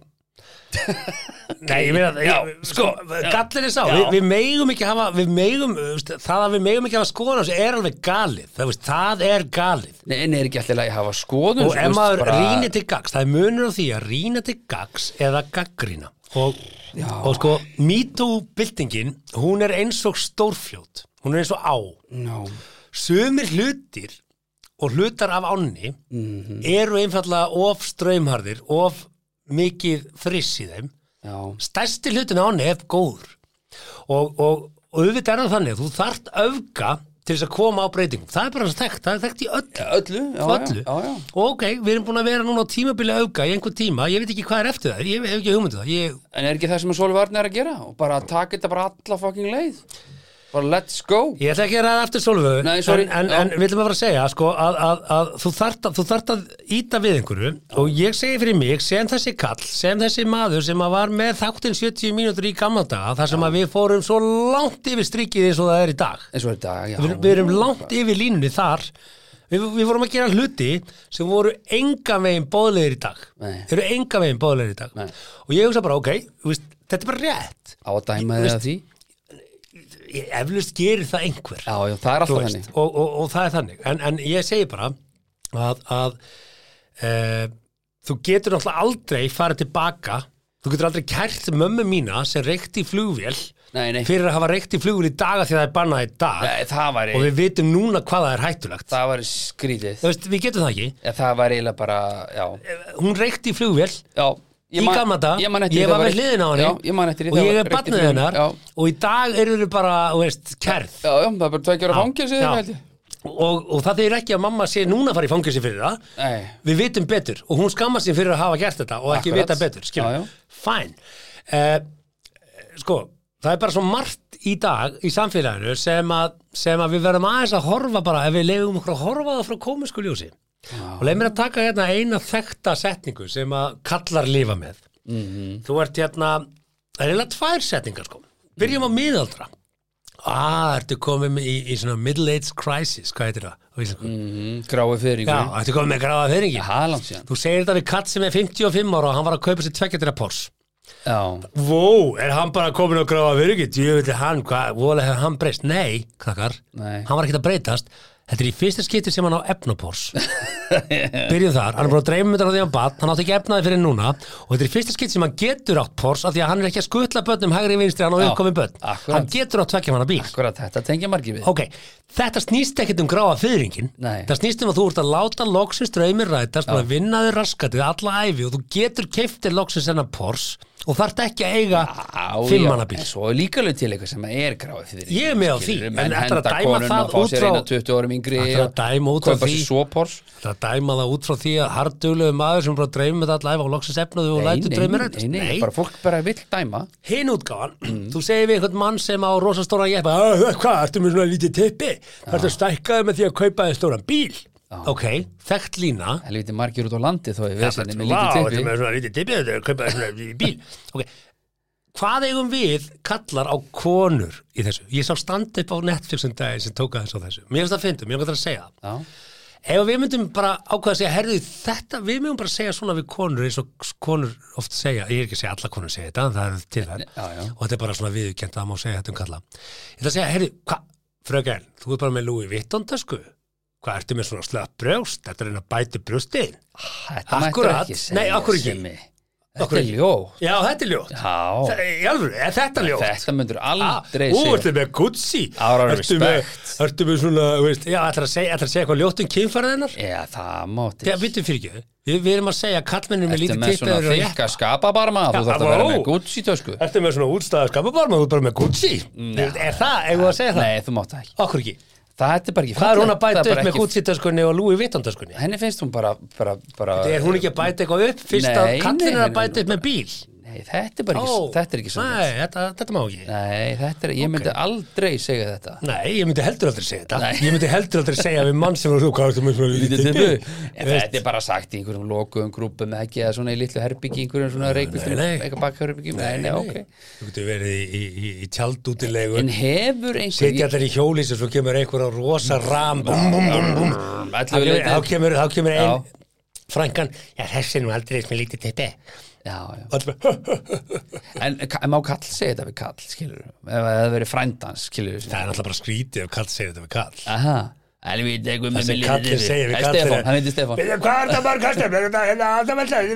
Nei, ég meina það Já, sko, gallin er sá Vi, Við megum ekki hafa, við megum þú veist, það að við megum ekki hafa skoðan á þessu er alveg galið það, veist, það er galið Nei, en er ekki allir að hafa skoðun og sko, ef veist, maður bara- rýnir til gags það er munur á því að rýna til gags eða gaggrína og, og sko, MeToo-byltingin hún er eins og stórfljót hún er eins og á no. sumir hlutir og hlutar af ánni Mhm. eru einfallega of ströymharðir of mikið friss í þeim Já, stærsti hlutin á hann er góður og, og, og auðvitað er það þannig að þú þarft öfga til þess að koma á breytingum það er bara þess þekkt, það er þekkt í öllu, öllu, já, öllu. já, já, já. og ok, við erum búin að vera núna á tímabili öfga í einhvern tíma, ég veit ekki hvað er eftir það ég hef ekki hugmyndið það, ég, En er ekki það sem að Sólvi Arna er að gera og bara taka þetta bara alla fucking leið bara let's go ég ætla ekki að ræða eftir Solvögu Nei, sorry, en, en, já. en við ætlum að fara að segja sko, að, að, að þú, þart að þú þart að íta við einhverju og ég segi fyrir mig sem þessi kall, sem þessi maður sem að var með þáttinn 70 mínútur í gamla daga þar sem að við fórum svo langt yfir strikið eins og það er í dag eins og þetta, já við, við erum langt yfir línunni þar við, við vorum að gera hluti sem voru engan veginn bóðlegir í dag Nei. þeir eru engan veginn bóðlegir í dag Nei. og ég hugsa bara, ok, þú veist, þetta er bara rétt á að dæma þig að því ég eflust gerir það einhver já, já, það er Þú alltaf veist, þannig og, og, og það er þannig en, en ég segi bara að, að e, þú getur náttúrulega aldrei farið tilbaka þú getur aldrei kært mömmu mína sem reykti í flugvél Nei, nei. fyrir að hafa reykti í flugvél í daga því að það er bannað í dag Nei, það væri, og við vitum núna hvað það er hættulegt það væri skrítið Þú veist, við getum það ekki Eða það væri eiginlega bara, já, hún reykti í flugvél já í gamla dag, ég, man eftir því, var það með hliðin á henni já, ég man eftir því, og það ég var er reykt í barnið flugvél. hennar já, og í dag eru þau bara, þú veist, kærð já, já, það er bara tveikjara fangins Já. hérna, held ég og, og það þýr ekki að mamma sé núna að fara í fangelsi fyrir það Nei. við vitum betur og hún skamma sér fyrir að hafa gert þetta og ekki Akkurat. vita betur Já, skilur, já. fæn eh, sko, það er bara svo margt í dag í samfélaginu sem að, sem að við verðum aðeins að horfa bara ef við leiðum okkur að horfa það frá komisku ljósi og leið mér að taka hérna eina þekta setningu sem að kallar lifa með Mhm. -hmm. þú ert hérna það er eiginlega tvær setningar sko byrjum á Mhm. miðaldra Ah, ertu komið í, í svona middle age crisis, hvað heitir það? á íslensku? Mm, grái fyrir Já, ertu komið með gráða fyrringi? það er langt síðan Þú segir þetta við katt sem er 55 ára og hann var að kaupa sér tveggjöndina pors. já, Vó, er hann bara komin að gráða fyrringi? Djöfulli hann, hvað, vola hefur hann breyst? Nei, krakkar, Nei. hann var ekkert að breytast. Þetta er í fyrsta skipti sem hann á efnapors. (laughs) Byrjum þar, hann er bara að dreifum þetta á því hann bat, hann átti ekki efnaði fyrir núna og þetta er í fyrsta skipti sem hann getur átt pors af því að hann er ekki að skutla börnum hægri vinstri hann á Já, uppkomið börn. akkurat. Hann getur átt tveggja manna bíl. akkurat þetta tengja margir við Ok, þetta snýst ekkert um gráa fyrringin Nei. Það snýst um að þú ert að láta loksins draumir rætast og að vinna þér raskatið alla æfi og þú getur keiftir loksins hennar pors og þarft ekki að eiga Á, já, fimmannabíl en svo er líka lög til eitthvað sem er gráðið fyrir Ég er með á því, en en ætlarðu að dæma henda konun það og fá út sér frá- eina 20 árum yngri Ætlarðu að og dæma út frá kaupa því? sér sopors Það dæma það út frá því að hardulegu maður sem er bara að draumir þetta alla æfi og loksins efnaðu og lætur draumir rætast nei, nei, bara Mm. fólk bara vill dæma hinn útgáfan, þú segir við einhvern mann sem á rosastóra jeppa, "Æ, hvað, ertu með svona lítið tippi? Það ertu að stækkaðu með því að kaupa þér stóran bíl? Ok, þekkt lína, helviti margir út á landi þó ég veist Vá, henni með þetta lítið er tippi með svona lítið tippi þetta er að kaupa svona lítið (laughs) bíl okay. Hvað eigum við kallar á konur í þessu? Ég sá standa upp á Netflix um daginn sem tóka þess á þessu. Mér finnst það fyndum, ég finnst það að segja. það. Já. Ef við myndum bara ákveða að segja, herðu þetta, við myndum bara segja svona við konur eins og konur oft segja, ég er ekki að segja alla konur segja þetta, en það er til þær. Já, já. Og þetta er bara svona viðurkend að má segja þetta um kalla. Ég ætla að segja, herðu, hvað, fröken, þú ert bara með Louis Vuitton tösku. Hvað ertu með svona slöpp brjóst? Þetta er einn að bæta brjóstin. Þetta mættur Akkurat. ekki Nei, segja akkur ekki. Simmi. Þetta Akkur er ekki. ljótt Já, þetta er ljótt. Já, Þe- Í alvöru, er þetta ljótt? þetta myndur aldrei Ú, segja ertu með Gucci Ára Ertu með, respect. ertu með svona, þú veist Já, ætlar að segja, ætlar að segja eitthvað ljótt um kynfærið hennar? Já, það mátti Já, byttum fyrir ekki Við, við erum að segja að kallmennir með Ertu lítið með svona tippaður og þykka skapabarma Já, Þú þarft að vera vá. með Gucci tösku Ertu með svona útstæða skapabarma, þú ert bara með Gucci Er er það, eigum við að segja það? Nei, þú mátt það ekki Okkur ekki Það er bara ekki Hvað er hún fallegt. að bæta Það er upp bara með ekki- Gucci-töskunni og Louis Vuitton-töskunni? Henni finnst hún bara, bara, bara Er hún ekki að bæta eitthvað upp fyrst að Nei, kallinn nei, er nei, að bæta nei, upp með bíl? Nei, þetta er bara ekki, Ó, þetta er ekki svona Nei, þetta, þetta má ekki Nei, þetta er, ég myndi aldrei segja þetta Nei, ég myndi heldur aldrei segja þetta Nei. Ég myndi heldur aldrei segja við mann sem var svo hvað er þetta með svona lítið tippi En Þetta er bara sagt í einhverjum lokuðum grúpum eða ekki eða svona í litlu herbyggi einhverjum svona reikvistum, nei. eitthvað bakherbyggi Nei, nei, ok Þú getur verið í, í, í, í tjaldútilegu En hefur einhver Sitja allir í hjóli sem svo kemur einhver á rosa ram bum, bum, bum, bum. Þá Allir kemur, þá kemur, þá kemur Já. ein Frankan, já þessi er nú aldrei eins með lítið tippi Já, já Og allir bara, (laughs) En ka- má kall segja þetta við kall, skilur Ef það hefur verið frændans, skilur Það er náttúrulega bara skrítið ef kall segir þetta við kall Aha Elvið, eitthvað með sem með kallin segir við Það er Stefán, hann heitir Stefán Bíddu, Hvað er það bara kastar?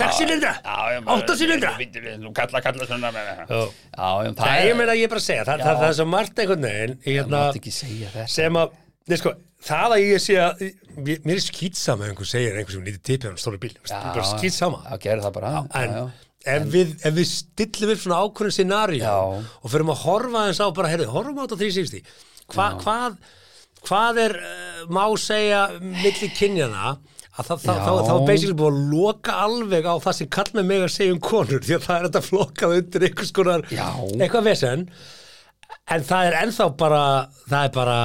6 silindra? Já, já, 8 silindra? Bíddu, bíddu, Kalla, kalla, svona Já. Já, já, Nei, það ég meina ég er bara að segja, það, það, það er svo margt einhvern veginn Ég hérna, mátt ekki segja þetta sem að, nei sko, það að ég sé að, mér, mér er skýtsama ef einhver segir einhver sem lítið tipið á stóra bíl, já, bara skýtsama, Já, gerðu það bara en, já, já. Ef, við, ef við stillum upp svona ákvörðin scenaríu Já. og förum að horfa eins á bara, heyrðu, horfum á þetta því síðusti, Hva, hvað, hvað er, uh, má segja, milli kynjana, að það, það, Já. þá, þá er basically búið að loka alveg á það sem kall með mig að segja um konur því að það er þetta flokkað undir einhvers konar Já. eitthvað vesen en það er ennþá bara það er bara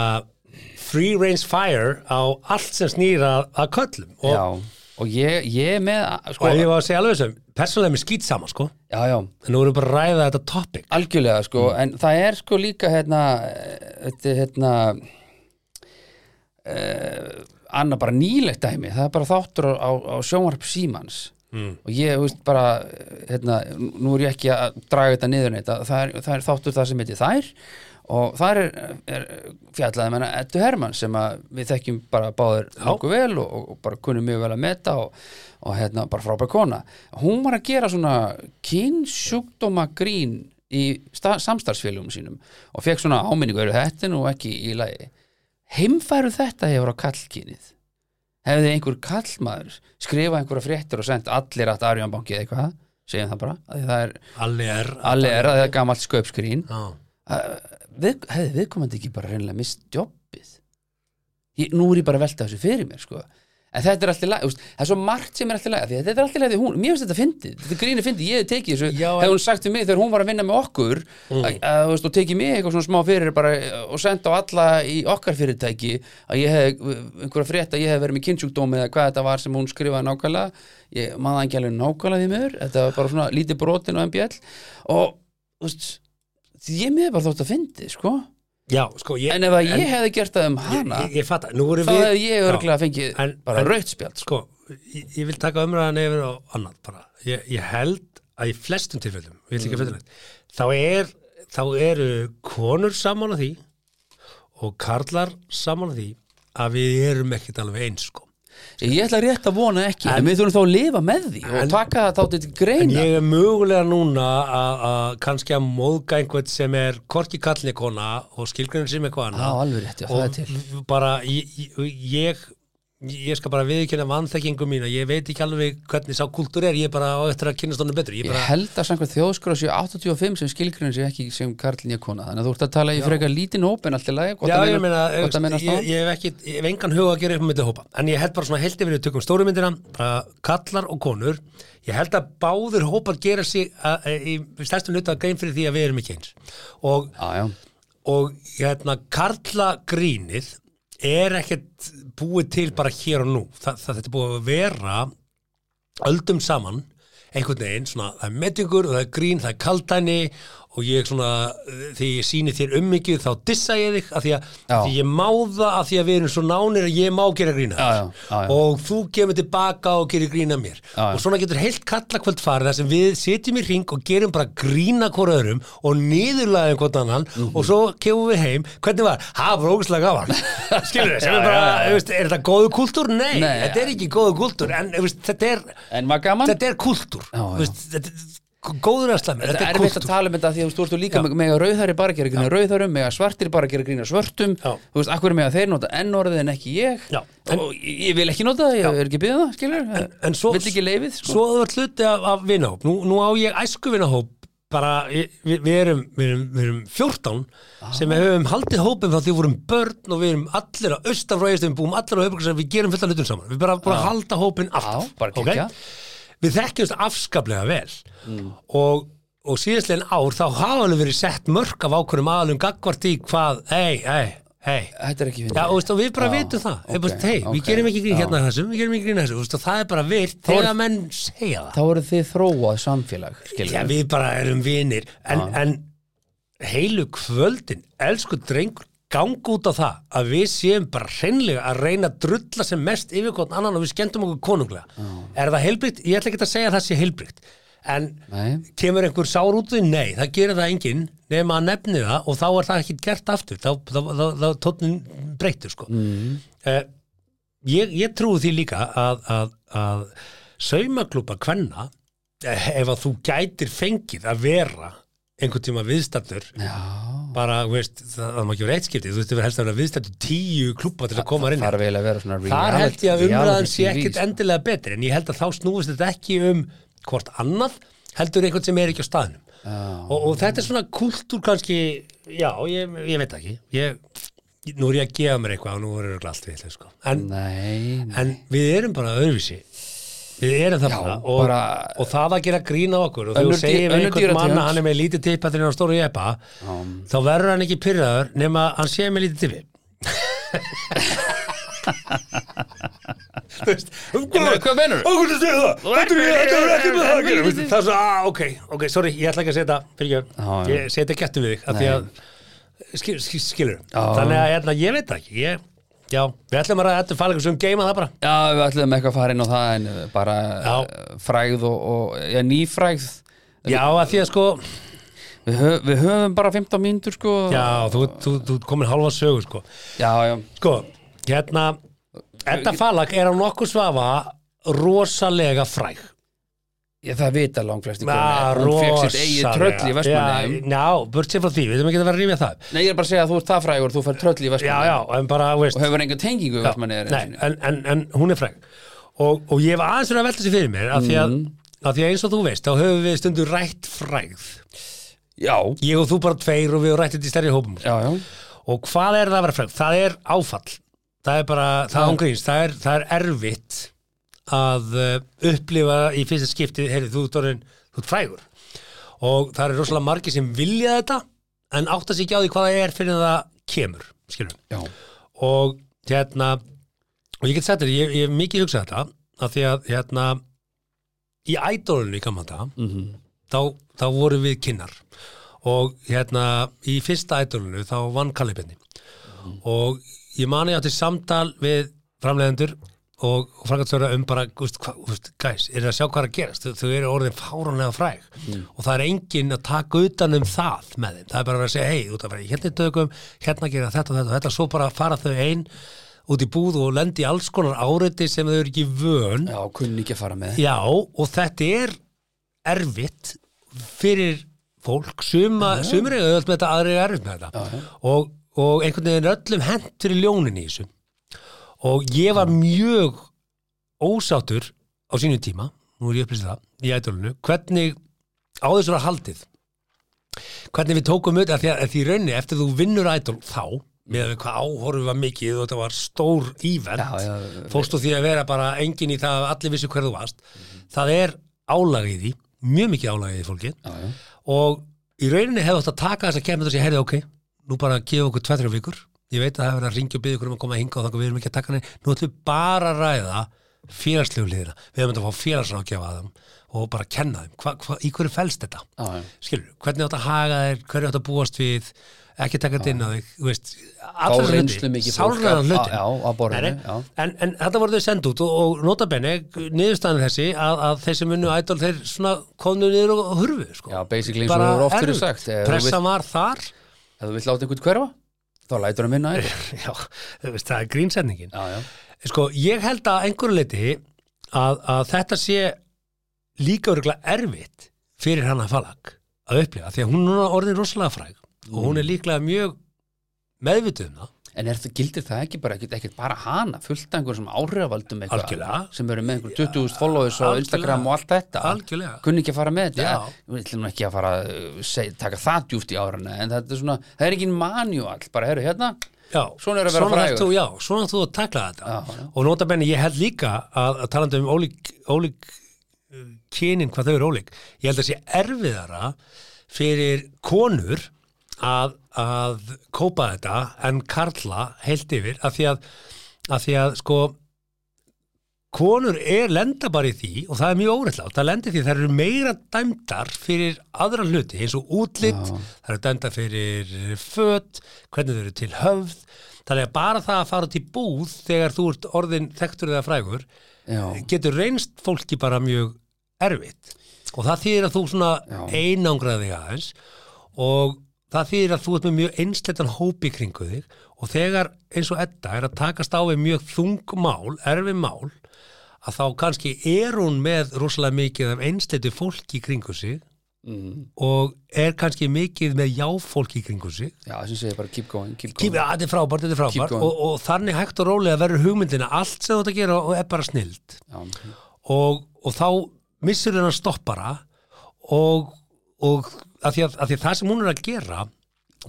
free range fire á allt sem snýra að köllum og, Já, og ég, ég er með sko, og ég var að segja alveg þessum persónulega er mér skýt sama sko Já, já, en nú erum við bara að ræða þetta topic algjörlega sko En það er sko líka hérna eh, Þetta er hérna uh, annað bara nýlegt dæmi það er bara þáttur á, á, á sjónvarp símans mm. og ég veist bara hérna, nú er ég ekki að draga þetta niður neitt, að það er, það er þáttur það sem heitir þær og þar er, er fjallaði menna Eddu Hermann sem að við þekkjum bara báðir nokkuð vel og, og- og bara kunum mjög vel að meta og, og hérna bara frábær kona hún var að gera svona kynnsjúkdóma grín í samstarfsfélugum sínum og fekk svona áminningu eru þetta er nú ekki í lagi heimfæru þetta hefur á kallkynið hefði einhver kallmaður skrifað einhverja fréttir og sendt allir að Arjón banki eða eitthvað segjum það bara, af því það er Alli er allir er að það er gamalt sköpskrín Já. að- við, hefði viðkomandi ekki bara reynilega mist jobbið ég, nú er ég bara að velta þessu fyrir mér sko. en þetta er alltaf lag, það er svo margt sem er alltaf lag þetta er alltaf lag því hún, mér finnst þetta fyndið þetta grínir fyndið, ég hef tekið þessu Já, en- hefði hún sagt við mig þegar hún var að vinna með okkur Mm. að, að, þú veist, og tekið mig eitthvað svona smá fyrir bara, og senda á alla í okkar fyrirtæki að ég hef einhverja frétt að ég hef verið með kynnsjúkdómi eða hvað þetta var sem hún skrifaði nákvæmlega ég maður ekki alveg nákvæmlega því miður þetta var bara svona lítið brotin og MBL og þú veist, ég mér bara þótt að fyndi sko. Já, sko, ég, en ef að ég hefði gert það um hana ég, ég fatta, nú erum þá við hefði ég Já. örglega fengið En- bara en- rautt spjald sko. Sko, ég, ég vil taka umræðan yfir á annað bara. Ég, ég held að í flestum tilfellum, við Mm. ætlum ekki að fyrir þá er, þá eru konur saman á því og karlar saman á því að við erum ekkit alveg eins, sko. ég ætla rétt að vona ekki en, við þurfum þá að lifa með því og taka það þá til En greina ég er mögulega núna að- að kannski að móðga einhvern sem er korki kallni kona og skilgrunum sem eitthvað á annað alveg rétt, já, það er og til v- bara ég, ég ég skal bara viðkynna vannþekkingu mína ég veit ekki alveg hvernig sá kultúr er ég er bara á eftir að kynast honum betur ég ég bara, held að samkvæmt þjóðskrá séu 85 sem skilgrinn séu ekki sem karlinja kona þannig að þú ert að tala í frekar lítinn ópen allt í lagi, hvort já, að ég, meinar- meina, hvort að ég, mennast ég, þá hef ekki, ég hef engan huga að gera upp með þetta hópa en ég held bara svona held yfir við tökum stóru myndina bara kallar og konur ég held að báður hópar gera sig að, að, í stærstum hluta grein fyrir því að við erum ekki eins og já, já og hérna karlagrínið er ekkert búið til bara hér og nú Þa, það þetta er búið að vera öldum saman einhvern veginn, svona það er metingur og það er grín, það er kaldæni og ég svona, eh, þegar ég síni þér ummyggju þá dissa ég þig, af því að, Já. því ég má það, af því að við erum svo nánir að ég má gera grína Já, já, já, já. og þú kemur tilbaka og gerir grína mér já. og svona getur heilt kallakvöld farið þar sem við sitjum í ring og gerum bara grína hvort öðrum og niðurlaðum hvort annan Mhm. og svo kemur við heim hvernig var, það var ógustlega gaman (laughs) skilur við, sem er Já, bara, já, já. þú veist, er þetta góðu kultúr? Nei, Nei, þetta er ekki góðu kultúr en þú veist, þetta er, en maður gaman, þetta er kultúr Já, já. Þú veist, þetta er góður að slæmi, þetta þetta er er erfitt að kultúr tala um þetta því að þú veist, þú ert þú líka með að rauðari bara að gera grína rauðarum, með að svartir bara að gera grína svörtum Já. þú veist, akkur með að þeir nota n-orðið en ekki ég Já. og ég ég vil ekki nota það, ég er ekki byggða það, skilur en svo- vill ekki leifið, sko Svo þú ert hluti af, af vinahóp nú, nú á ég æsku vinahóp bara, við, við, erum, við, erum, við erum 14 sem við höfum haldið hópum þá því við vorum börn og við erum allir að austan frá eistum, búum allir á höfbruksar við gerum fullt af hlutum saman, við bara búum að halda hópin Já, alltaf, bara geggjað. Mm. við þekkjumst afskaplega vel og og síðastlegin ár þá hafa alveg verið sett mörg af ákvörðum aðalum gagvart í hvað, hei, hei, hei þetta er Já, ekki fyndið. og veist, og við bara Já, vitum það okay, bara, ok, hey, Við ok, gerum ekki grín já. hérna að þessum, við gerum ekki grín að þessum veist, og það er bara virt þegar menn segja það þá eru þið þróað samfélag, Já, skilur við bara erum vinir en, en heilu kvöldin elsku drengur gang út á það að við séum bara hreinlega að reyna að drulla sem mest yfir hvort annan og við skemmtum okkur konunglega Er það heilbrygt? Ég ætla ekki að segja að það sé heilbrygt en Nei. kemur einhver sár út því? Nei, það gerir það enginn nema að nefni það og þá er það ekki gert aftur þá, þá, þá, þá tóttin breytur sko mm. Mhm. ég, ég trúi því líka að, að, að saumaklúpa kvenna eh, ef að þú gætir fengið að vera einhvern tíma viðstattur já, bara, þú veist, það, það má ekki vera eitt skiptið þú veist, þú verður helst að vera viðstattur tíu klúpa til að koma inn það er vel að vera svona þar held ég að reality- umræðan sé reality ekkit TV, endilega betri en ég held að þá snúist þetta ekki um hvort annað heldur einhvern sem er ekki á staðnum og, og þetta er svona kultúr kannski já, ég, ég veit það ekki ég, nú er ég að gefa mér eitthvað og nú er örugglega allt við þetta, sko. en, sko. nei, en við erum bara öðruvísi við erum það Já, bara, og, bara- og það að gera grína okkur og þegar Önnur þú segir dý- við önnur einhvern dýrategund. mann að hann er með lítið tippa þegar hann er á stóru jeppa þá verður hann ekki pyrraður nema hann sé með lítið tippi Þú veist, nei, hvað meinarðu? Okkur þú segir það, ert þetta er með- þetta er ekki með það að með gera lítið- Það er svo, að, ok, ok, sorry, ég ætla ekki að setja fyrir Já, já. ég setja kjættu við þig af því að skil- skil- skilur, Já. þannig að hérna, ég veit það ekki ég, Já, við ætlum að ræða þetta fælingur sem geima það bara Já, við ætlum eitthvað að fara inn á það en eh, bara Já. eh, frægð og, og já, nýfrægð Já, að því að sko, við, höf, við höfum bara 15 mínútur sko já, þú, þú, þú komin halva sögu sko já, já. Sko, hérna Edda Falag er á nokkuð svafa rosalega fræg Ég, það vita langflestir Ah, konur. Hún fekk sitt eigið rosalega. tröll í Vestmannaeyjum Já, já, burt sér frá því, við þurfum ekki að vera að rýmja það Nei, ég er bara að segja að þú ert það frægur, þú fær tröll í Já, Vestmannaeyjum já, en bara, þú veist og hefur enga tengingu í Vestmannaeyjum einu Nei, sinni. en, en, en hún er fræg og, og ég hef aðeins verið að velta sér fyrir mér af því, að, af því að eins og þú veist þá höfum við stundu rætt frægð Já, ég og þú bara tveir og við höfum rætt þetta í stærri hópum já, já og hvað er það að vera frægð? Það er áfall það er bara, það ángríns það er, það er erfitt að uh, upplifa í fyrsta skipti heyrðu, þú, ert orðinn- þú ert frægur og það er rosalega margir sem vilja þetta en átta sig ekki á því hvað það er fyrir en það kemur, skilum Já, og hérna og ég get sagt þér, ég, ég hef mikið hugsað þetta af því að hérna í ædólinu í gaman dag þá, þá vorum við kynnar og hérna í fyrsta ædólinu þá vann Kallibinni og ég mani átti samtal við framleiðendur og, og frangatstöra um bara, gúst, hva, gúst, guys, er það að sjá hvað er að gerast þau, þau eru orðin fáránlega fræg og það er enginn að taka utan um það með þeim, það er bara að vera að segja, hei, út að vera í hérna í tökum, hérna gera þetta og þetta og þetta svo bara fara þau ein út í búð og lendi í alls konar áreiti sem þau eru ekki vön já, kunni ekki að fara með Já, og þetta er erfitt fyrir fólk, suma, sumir eiga auðvelt með þetta, aðrir eiga erfitt með þetta Og, og einhvern veginn er öllum hent fyrir ljónin í þessu og ég var mjög ósáttur á sínum tíma nú er ég upplýst það í ædolunu hvernig á þessu var haldið hvernig við tókum auðvitað því að að því í rauninni eftir þú vinnur ædol þá með við hvað áhorfum var mikið og þetta var stór ívent Já, já, fórst úr því að vera bara engin í það að allir vissu hver þú varst það er álagið í því, mjög mikið álagið í því fólki Já, já. og í rauninni hefði átt að taka þess að kemur þess að ég heyrði ok, nú bara gefa okkur tveir, þrjá vikur ég veit að það hefur verið að ringja og byggja okkur um að koma að hinga og þannig að við erum ekki að taka henni, nú ætlum við bara að ræða félagslegu hliðina, við hefum þetta að fá félagsrákjafa að þeim og bara kenna þeim, hva, hva, í hverju fælst þetta Já, já. skilur, hvernig átt að haga þeir hverju átt að búast við, ekki taka þetta inn á þig þú veist, Fá allar reynslu mikið fólk sálræðan að- hluti á- já, á borðinu, Nei, nei. já. en, en þetta voru þau send út og, og notabenni, niðurstaðan er þessi að, að þeir sem unnu ædol, þeir svona komnu niður og hurfu, sko Já, basically eins og það er oft verið erfitt. sagt ef þú pressan var þar vill- Ef þú vill láta einhvern hverfa, þá lætur hann vinna þér (laughs) já, þú veist, það er grínsendingin Já, já, sko, ég held að einhverju leiti að, að þetta sé líka örgulega erfitt fyrir hana falag að upplifa, því að hún er núna orðin rosalega fræg og hún er líklega mjög meðvituð um það En er, það- gildir það ekki bara, ekkert, ekkert bara hana fullt af einhverjum sem áhrifavaldum eitthvað Algjörlega. sem eru með einhverjum 20.000 followers á algjörlega. Instagram og allt þetta Algjörlega. kunni ekki að fara með þetta Já. Já, við ætlum nú ekki að fara að uh, seg, taka það djúft í árana en þetta er svona, það er ekki manual bara heyrðu hérna, Já, Svona er að vera þarft frægur. þú, já, svona þarft þú að takla þetta Já, já. og nota benni, ég held líka að, að talandi um ólík, ólík uh, kynin, hvað þau eru ólík ég held að sé erfiðara fyrir konur að, að kópa þetta en karla heilt yfir af því að, af því að sko konur er lenda bara í því og það er mjög óreitlátt, það lendir því að þær eru meira dæmdar fyrir aðra hluti eins og útlitt, þær eru dæmdar fyrir föt, hvernig þau eru til höfð, þannig að bara það að fara út í búð þegar þú ert orðin þekktur eða frægur, Já. getur reynst fólki bara mjög erfitt og það þýðir að þú svona einangraði aðeins og það þýðir að þú ert með mjög einsleitan hópi í kringu þig og þegar eins og Edda er að takast á við mjög þung mál, erfi mál að þá kannski er hún með rosalega mikið af einsleitu fólki í kringu sig Mhm. og er kannski mikið með jáfólki í kringu sig Já, þessum segir bara keep going, keep going Kíf, að, þetta er frábært, þetta er Keep frábært going. og, og þannig hægt og rólega verður hugmyndina allt sem þú ert að gera og er bara snild Já, og, og þá missur hennar stoppara og, og að, því að, að því að það sem hún er að gera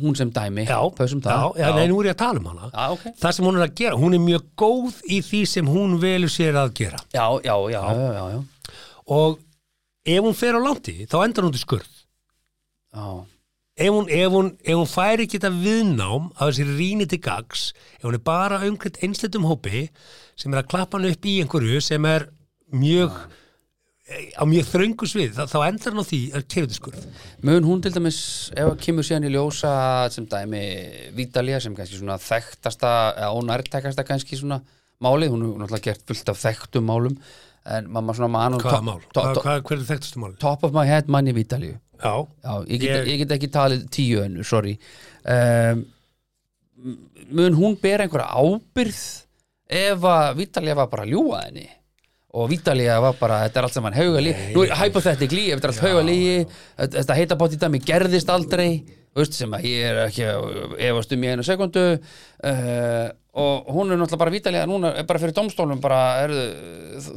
Hún sem dæmi, já, pausum það já, já. Nei, nú er ég að tala um hana Já, ok. það sem hún er að gera, hún er mjög góð í því sem hún velur sér að gera já, já, já, já, já, já. og ef hún fer á lanti þá endar hún til skurð já. ef hún, ef hún, ef hún fær ekki þetta viðnám að þessi rýni til gags ef hún er bara umkvæmt einsleitum hópi sem er að klappa hann upp í einhverju sem er mjög eh, á mjög þröngu svið, þá, þá endar hann á því að kefðu skurð. Mun hún til dæmis, ef að kemur síðan í ljósa sem dæmi Vítalía sem kannski svona þekktasta eða ónærtækasta kannski svona málið, hún hefur náttúrulega gert fullt af þekktum málum en mamma svona mann Hvaða mál? Hvað, hvað, hver er þekktustu mál? Top of my head manni Vítalíu Já, Já, ég get, Ég- ég get ekki talið tíu önnu, sorry um, Mun hún bera einhverja ábyrð ef að Vítalía var bara að ljúga henni og Vítalía var bara, þetta er allt saman haugalí Nú er hypothetically, þetta er allt haugalí þetta heita bótt í dæmi gerðist aldrei þú veist sem að ég er ekki að efast um í einu sekundu uh, og hún er náttúrulega bara Vítalía núna er bara fyrir domstólum bara, er,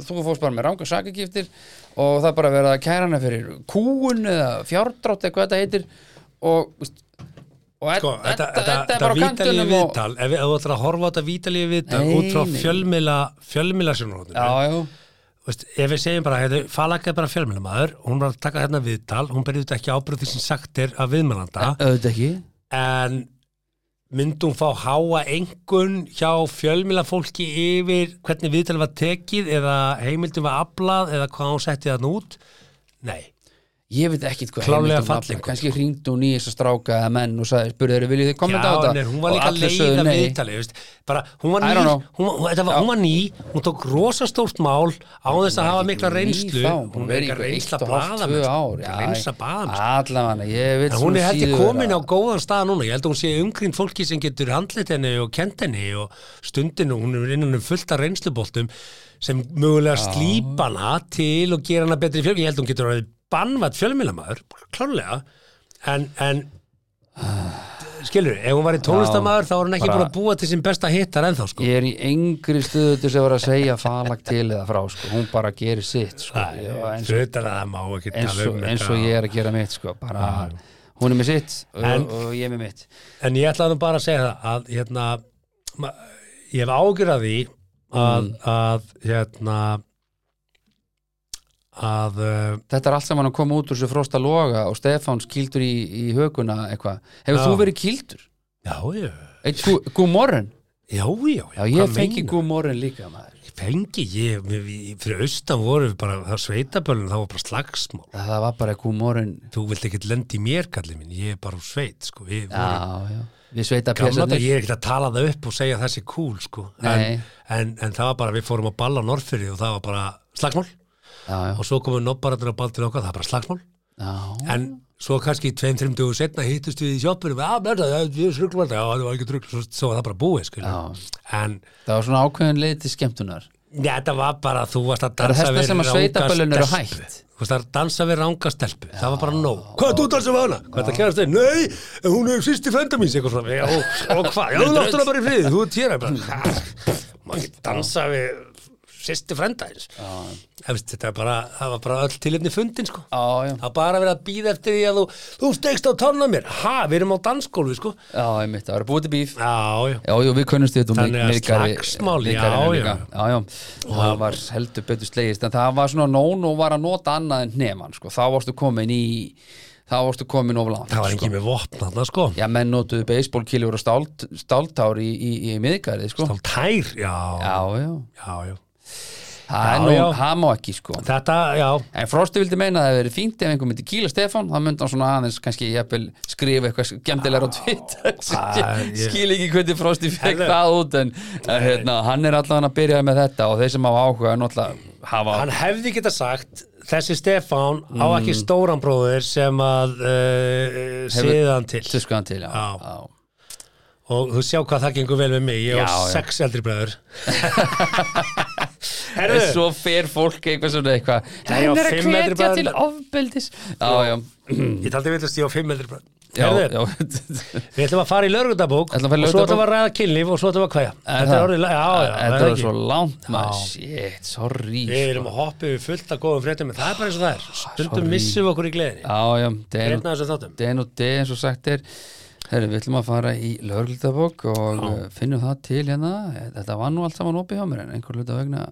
þú fórst bara með ranga sakagiftir og það er bara verið að kæra hana fyrir kúun eða fjárdrátt eða hvað þetta heitir og, þú veist, og Sko, þetta, þetta, þetta er þetta bara á vítalíu kantinum og, viðtal, ef ef þú ætlar að horfa á þetta vítalíu viðtal Nei, út frá nei. fjölmila, fjölmila sjónarhóttinu, já, já, veist, ef við segjum bara, hefðu, Falak er bara fjölmjölamaður, hún var að taka hérna viðtal, hún berði þetta ekki ábyrð því sem sagt er að viðmælanda, auðvitað ekki en myndi hún fá háa engun hjá fjölmjölafólki yfir hvernig viðtal var tekið eða heimildum var aflað eða hvað hún setti þarna út? Nei. Ég veit ekkit hvað Klárlega heimildin var. falleinkunn, Kannski hringdu hún í þess að stráka eða menn og sagði, spurði þeirri, viljið þið kommenta á þetta nei, hún var líka Og að allir sögðu leiða nei. viðtalið, veist, bara, hún var I ný, don't hún, know. var- hún, þetta var, hún var ný, hún tók rosastórt mál á þess að hafa mikla Ný reynslu, þá, hún hún verið er ekki í reynsla eitt og hálft, blaða, tvö ár, já, reynsla blaða, Allavega, ég veit En sem hún er held ég síður komin á að- góðan stað núna, ég held að hún sé umgrind fólki sem getur handlit henni og kent henni og stundinu, hún er innan um fullta reynsluboltum sem mögulega slípa hana til og gera hana betri fjölmi, ég held að hún getur að bannvætt fjölmiðlamaður, klárlega, en, en skilur, ef hún var í tónlistamaður þá er hún ekki bara- búin að búa til sín besta hittar ennþá sko. Ég er í engri stöðu til þess að vera að segja falag til eða frá, sko, hún bara gerir sitt sko, Það Já, er eins, og- hlutar að það má ekki eins, tala og, um eins og ég er að gera mitt sko, bara, hún er með sitt og, En- og ég er með mitt En ég ætla nú bara að segja það að hérna, ma- ég hef ágjur að því að, að hérna að uh, Þetta er allt saman að koma út úr þessu frosta loga og Stefán skildur í, í höguna eitthvað. Hefur Já. þú verið kildur? já, já, Eitt gú, gúmorren? já, já, Já, ég hvað fengi meinar? gúmorren líka maður. Ég fengi, ég, mér- ég, fyrir austan voru við bara, það sveitabölun, það var bara slagsmál Það, það var bara gúmorren. þú vilt ekkert lendi í mér, kallið minn ég er bara úr sveit, sko við Já, vorum já. Við sveita gamla þetta, pjæsarnir. ég er ekkert að tala það upp og segja þessi cool, sko Nei. en, en, en það var bara, við fórum að balla á norðfyrir og það var bara slagsmál Já, já. og svo komum nobbarandur á baldur okkar, það var bara slagsmál já. en svo kannski tveim, þreim dögum setna hittust við í "Ah, sjoppunum að mérna, við erum sruglum alltaf, já, það var ekki drugl svo, svo var það bara búið, skilja en Það var svona ákveðin leið til skemmtunar. ja, þetta var bara, þú varst að Það eru dansa þessna sem að sveitaböllin eru stelpu. hætt. þú varst að dansa við ranga stelpu það var bara nóg, hvað er þú að dansa við hana? hvað er það kærast þeim? Nei, en hún er sýsti frenda mín eitthvað svona, já, og, og hvað? Já, þú láttu hana bara í friði, þú ert hér (laughs) Ég bara, "Ha, maður ekki dansa við sýsti frenda eins þetta er bara, það var bara öll tilefni fundin sko. Já, já. Það er bara verið að býða eftir því að þú, þú stegst á tánna mér. Ha, við erum á dansgólfi, sko. Já, ég mitt. Það eru búið til bíf. Já, já. Já, já, við kunnumst við þetta Þannig að myrkari- slagsmál, já, myrkarinu já. líka. já, já. Það var heldur betur slegist en það var svona nón og var að nota annað en hneman sko. þá varstu komin í þá varstu komin of langt Það var sko. engin með vopn þarna, sko. Já, menn notuðu beisbólkiljur og stált, stáltár í, í, í miðgarði, sko. Þá tær, já. Já, Já, já. já. Það er Já, nú, já. það má ekki, sko. Þetta, já, En Frosti vildi meina að það hefði verið fínt ef einhver myndi kýla Stefán, þá myndi hann svona aðeins kannski jafnvel skrifa eitthvað skemmtilega á Twitter það sem er- ég skil ekki hvernig Frosti fekk Herðu. það út en en, hérna, hann er allan að byrja með þetta og þeir sem hafa áhuga er náttúrulega hafa hann hefði geta sagt, þessi Stefán á Mm. ekki stóran bróðir sem að uh, síðan til. tuskaðan til, já. Já. já. Og þú sjá hvað það gengur vel með mig. Ég Já, á já. sex eldri (laughs) bræður. En Herðu, svo fer fólk eitthvað svona eitthvað Nei, já, Hann er að fimm metri hvetja bara- til ofbeldis Já, já, ég taldi villast ég á fimm eldri bræður. já, Herðu, já. Við ætlum að fara í lögreglutabók og Ætlum að fara í svo ætlum við lögreglutabók. að ræða kynlíf og svo ætlum við að kvæja. Þetta er orðið, já, já, það Þetta er er ekki. svo langt maður, shit, sorry Við sko. erum að hoppa yfir fullt af góðum fréttum en það er bara eins og það er. Stundum sorry. missum við okkur í gleðinni. Já, já, þetta er nú- Hérna þessu þáttum. den og den eins og sagt er Herri, við ætlum að fara í lögreglutabók og Já. finnum það til hérna þetta var nú allt saman opið hjá mér en einhver hluta vegna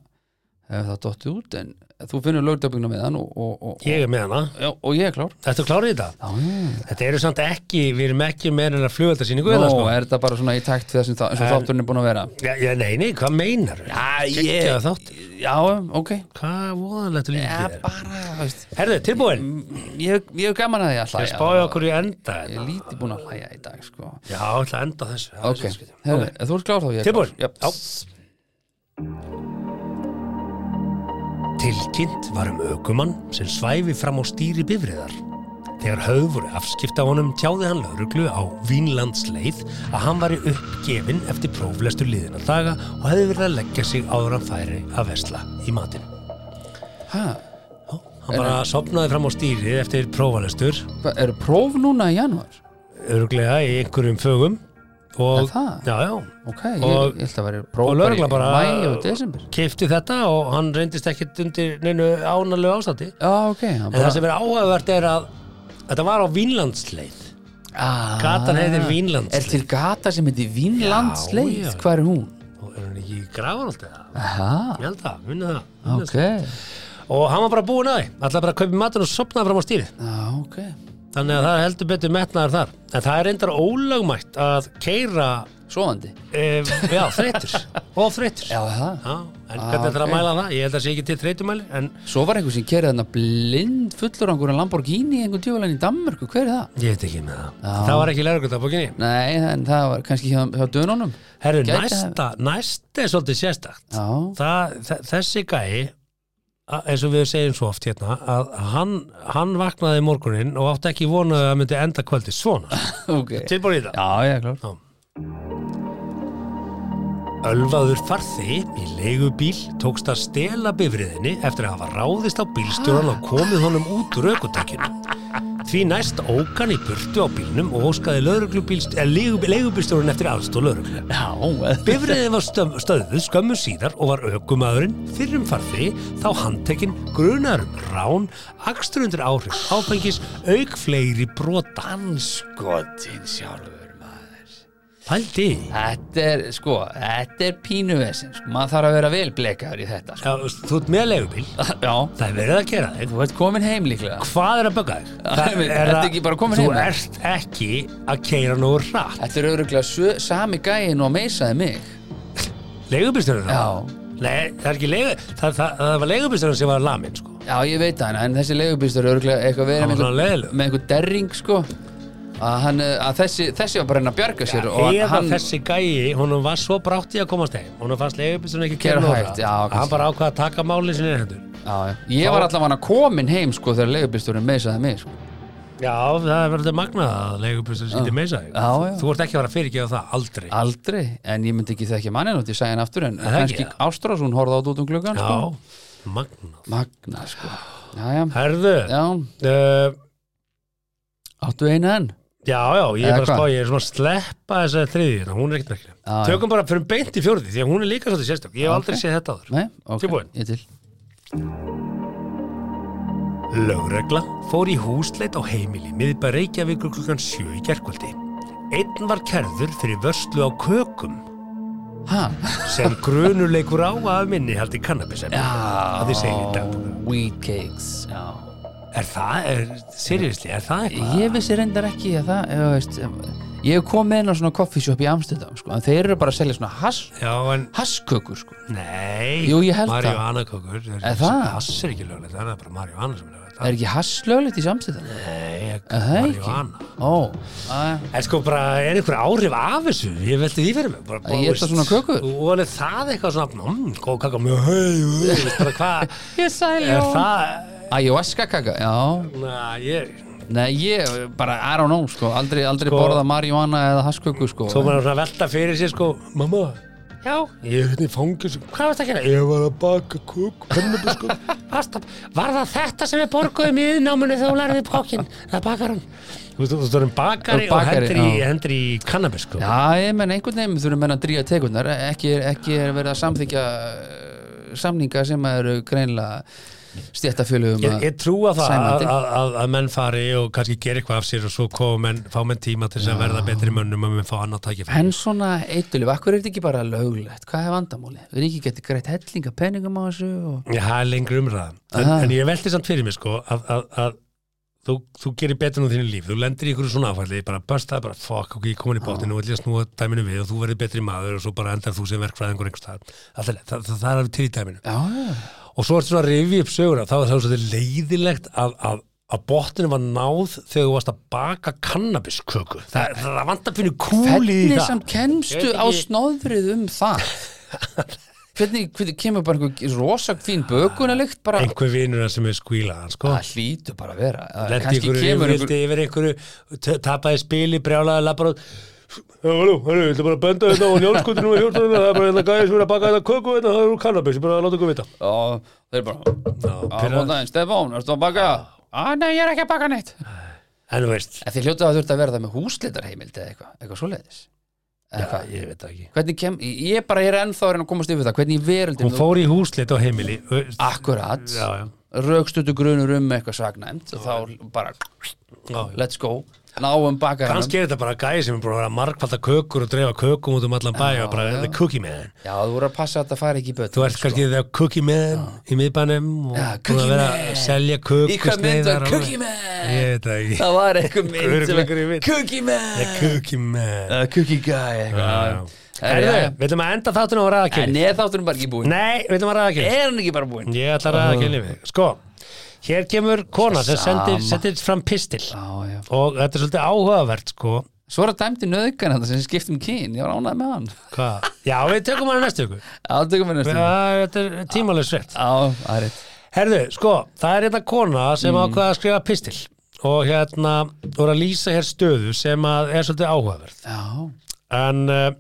hefur það dottið út en þú finnur lögdöpingna með hann og, og, og, Ég er með hana. já, og ég er klár Þetta klárið þetta? Þetta eru samt ekki, við erum ekki með hennar flugöldarsýningu Nú, eða sko. er þetta bara svona í takt við þessum þa- eins og En- þátturinn er búin að vera Já, já, nei, nei, hvað meinar? Já, Gekkjaður þáttur. Já, ok Hvað voðalegt lífið Já, þér? bara, Mm, þú veist Herðu, tilbúin. Ég ég hef gaman að því að Ég hlæja spáði okkur í enda. hérna. Ég er lítið búin að hlæja í dag, sko Já, ég ætla að enda á þessu. Ok, herri, þú ert klár þá ég er Tilbúin. klár. Jöp. Já. Tilkynnt var um ökumann sem svæfi fram á stýri bifriðar. Þegar höfð voru afskipta honum tjáði hann lauruglu á Vínlandsleið að hann var uppgefin eftir próflestur liðina daga og hefði verið að leggja sig áður en hann færi að vesla í matinn. Ha, Já, Hann bara sopnaði fram á stýri eftir prófalestur, hva- eru próf núna í janúar? örglega í einhverjum fögum Er og, það? já, já, Ok, ég, Og- ég held að vera próf og lögregla í bara- Mæ og desember keifti þetta og hann reyndist ekkit undir neinu ánalegu ástandi. Já, ok En það sem er áhugavert er að þetta var á Vínlandsleið. Gatan heitir Vínlandsleið. Ah. Er til gata sem heitir Vínlandsleið? Já, já. Hvað er hún? Og er hann ekki í grafan alltaf það? Aha, Ég held það, munið það. munið ok það. Og hann var bara búin að því. Alltaf bara að kaupi matinn og sopnaði fram á stýrið. Já, ok Þannig að það er heldur betur metnaður þar. En það er reyndar ólögmætt að keira, Svoandi e, já, þreytur. (laughs) og þreytur. Já, Já, það en hvernig þetta er að ok. mæla það? Ég held að það sé ekki til þreytumæli, en Svo var einhver sem kerið þarna blind fullur á einhverjum Lamborghini í einhver djöfulegin í Danmörku, hver er það? ég veit ekki með það. Það var ekki lærugöldabókinni. Nei, en það var kannski hjá, hjá dönunum Herru, Gæti næsta, næsta er svolítið sérstakt. Já, það, þe- þessi gæi a- eins og við segjum svo oft hérna að hann, hann vaknaði í morguninn og átti ekki vonaði að það myndi enda kvöldi svona (laughs) ok tilbúin í það Já, ég er klár Ölvaður farþi í leigubíl tókst að stela bifriðinni eftir að hafa ráðist á bílstjóran og komið honum út úr aukutakinu. Því næst ókan í burtu á bílnum og óskaði lögreglubílst- eh, leigu- leigubílstjóran eftir aðstóð lögreglu. Já, Bifriðið var stöð, stöðuð skömmu síðar og var aukumæðurinn fyrrum farði þá handtekinn grunar um rán, akstur undir áhrif áfengis, auk fleiri brota. anskotin sjálfur maður Pældi. Þetta er, sko, þetta er pínuvesen sko. maður þarf að vera vel blekaður í þetta sko. Já, þú ert með legubíl, (laughs) Já, það er verið að gera þig. þú ert komin heim líklega Hvað er að bögga þig? Það Æmi, er ertu að- ekki bara kominn Þú heim? ert ekki að keira nú rætt. Þetta er örugglega sö- sami gæin og meisaði mig Leigubílstjórin það? Já. Nei, það er ekki leigu... Það, það, það var leigubílstjórin sem var lamin, sko. Já, ég veit hana, en þessi leigubýstur er örugglega eitthvað verið Hann með var svona einhver, leiðilegur. með einhver derring sko að, hann, eh, að þessi, þessi var bara að reyna að bjarga sér og Eða hann, þessi gæi, honum var svo brátt í að komast heim honum fannst leigubílstjórin ekki Keyra keyra nógu hægt, hratt. já, kannski. hann bara ákvað að taka málið sinni í hendur já, já. ég var allavega komin heim sko þegar leigubýsturinn meisaði mig sko. Já, það er verið magnað að leigubílstjórin sýndi meisa þig Já, já. Þú ert ekki að fara að fyrirgefa það, aldrei aldrei, en ég myndi ekki þekki mannin átt, ég sagði hann aftur en það kannski ekki, Ástrás, hún horfði át út um gluggan sko. Já, magnað magna sko já, já. Herðu, já, uh, áttu eina enn já, já, ég er Eða bara að hvað? spá ég er svona að sleppa þessa þriði hérna, hún er ekkert Já, merkileg Tökum bara fyrir beint í fjórði, því að hún er líka svolítið sérstök Ég hef Ok. aldrei séð þetta áður Nei, ok, Tilbúin. ég til Lögregla fór í húsleit á heimili miðbæ Reykjavíkur klukkan 7 í gerkvöldi. Einn var kerður fyrir vörslu á kökum ha, (laughs) sem grunuleikur á að minni haldi kannabisem. já Það þið segir í dag. wheat cakes, já Er það, er, seriously, er það eitthvað? Ég vissi reyndar ekki að það ég, veist, em, ég hef komið inn á svona coffeeshop í Amsterdam sko, en þeir eru bara að selja svona hass, Já, en, hasskökur sko. nei, Jú, ég held það. marihuana kökur. Er það? Hass er ekki löglegt, það er bara marihuana sem er löglegt. er ekki hass löglegt í Amsterdam? Nei, Er það ekki? marihuana. Ó, að, En sko bara, er einhver áhrif af þessu? Ég velti því fyrir mig. Bara, bara, Að éta svona köku? Og er það eitthvað svona, mmm, góð kaka, mjög hei, hei, (laughs) hvað, ég sæli er það, Ayahuasca kaka, já na, ég, Nei, ég bara, I don't know, sko Aldrei, aldrei Sko- borða marihuana eða hassköku, sko svo maður er svona að velta fyrir sér, sko, mamma, já, ég er hérna í fangis, hvað varst að gera? Ég var að baka kök, kannabis, sko, (laughs) varst að, var það þetta sem við borguðum í yðnáminu þegar hún lærði kokkin, það bakar hann. Þú veist, þú veist, þú erum bakari og Bakari, hendur í, já. hendur í kannabis, sko. Já, ég menn einhvern veginn þurfum menn að dríja tekunnar ekki, er- ekki er verið að samþykja eh, samninga sem eru greinlega stjættafélögum Ég, ég trúa það að, Sæmandi. að, að, að menn fari og kannski gera eitthvað af sér og svo koma menn, fá menn tíma til þess að verða betri mönnum og menn fá annað tækifæri. En svona eitulif, akkur er þetta ekki bara löglegt? Hvað er vandamáli? Við erum ekki getið greitt hellinga peningum á þessu og... Já, það er lengur umræðan. En, Aha. en ég velti samt fyrir mig sko að, að, að þú, þú gerir betur nú þínu líf, þú lendir í ykkur svona áfælli, bara börstaði bara fuck, ok, ég er komin í bóttin og ætlum að snúa dæminu við og þú verður betri maður og svo bara endar þú sem verkfræðingur einhvers staðar. Allt í lagi, Það, það, það er alveg til í dæminu. Já, já, og svo ertu svona að rifja upp söguna þá er það svolítið leiðilegt að, að, að botninu var náð þegar þú varst að baka kannabisköku það, er- það vant að finna kúli í hvernig það sem kemstu á snóðrið um (laughs) það? hvernig, hvernig kemur bara einhver rosa fín bökunarlykt bara einhver vinur hans sem er skvílaðan sko það hlýtur bara að vera Það Lendi kannski ykkur kemur yfirvildi yfir einhverju t- tapaði spili, brjálaði labbar og Halló, halló, ég ætla bara að benda þetta á njálskundi númer 14 það er bara hérna gæði sem er að baka þetta köku hérna, það er úr kannabis, ég bara að láta ykkur vita og þeir bara Ná, Góðan pyrraði. daginn, Stefán, erstu að baka? Á, nei, ég er ekki að baka neitt En þú veist, En þið hljótið að þurft að vera það með húsleitarheimild eða eitthvað, eitthvað svoleiðis Eða hvað? ég veit það ekki Hvernig kem, ég bara er ennþá að reyna að komast yfir það Hvernig í veröldin Hún fór í húsleitt á heimili ö- Akkurat, Já, já, rökstutu grunur um eitthvað sagnæmt og þá bara, já, já. let's go náum baka kannski er þetta bara gæði sem er búin að vera margfalda kökur og dreifa kökum út um allan bæ og bara the cookie man Já, þú voru að passa að þetta fari ekki í sko. böt þú ert kannski the cookie man í miðbænum og Já, búin cookie að vera man. að selja Í hvað mynd kökusneiðar var og- Cookie Man? ég veit það (laughs) ekki Það var eitthvað mynd Örugglega sem- einhverju mynd. Cookie Man the cookie man Uh, Cookie Guy Já, eitthvað. já. Herðu, Herðu, við ætlum að enda þáttunum á ræða En kynlíf er þátturinn bara ekki búinn? nei, við ætlum að ræða kynlíf Er hann ekki bara búinn? ég ætla að ræða kynlíf sko, hér kemur kona sem sendir, sendir fram pistil Já, já. og þetta er svolítið áhugavert sko Svo er það dæmt í nöðgan þetta sem skipt um kyn, ég var ánægð með hann. (laughs) Hva? já, við tökum hann næstu ykkur Átökum við næstum. þetta er tímalega svett Á, það er rétt. Herðu, sko, það er hérna kona sem mm. ákvaða að skrifa pistil og hérna voru að lýsa hér stöðu sem að er svolítið áhugaverð Já, en uh,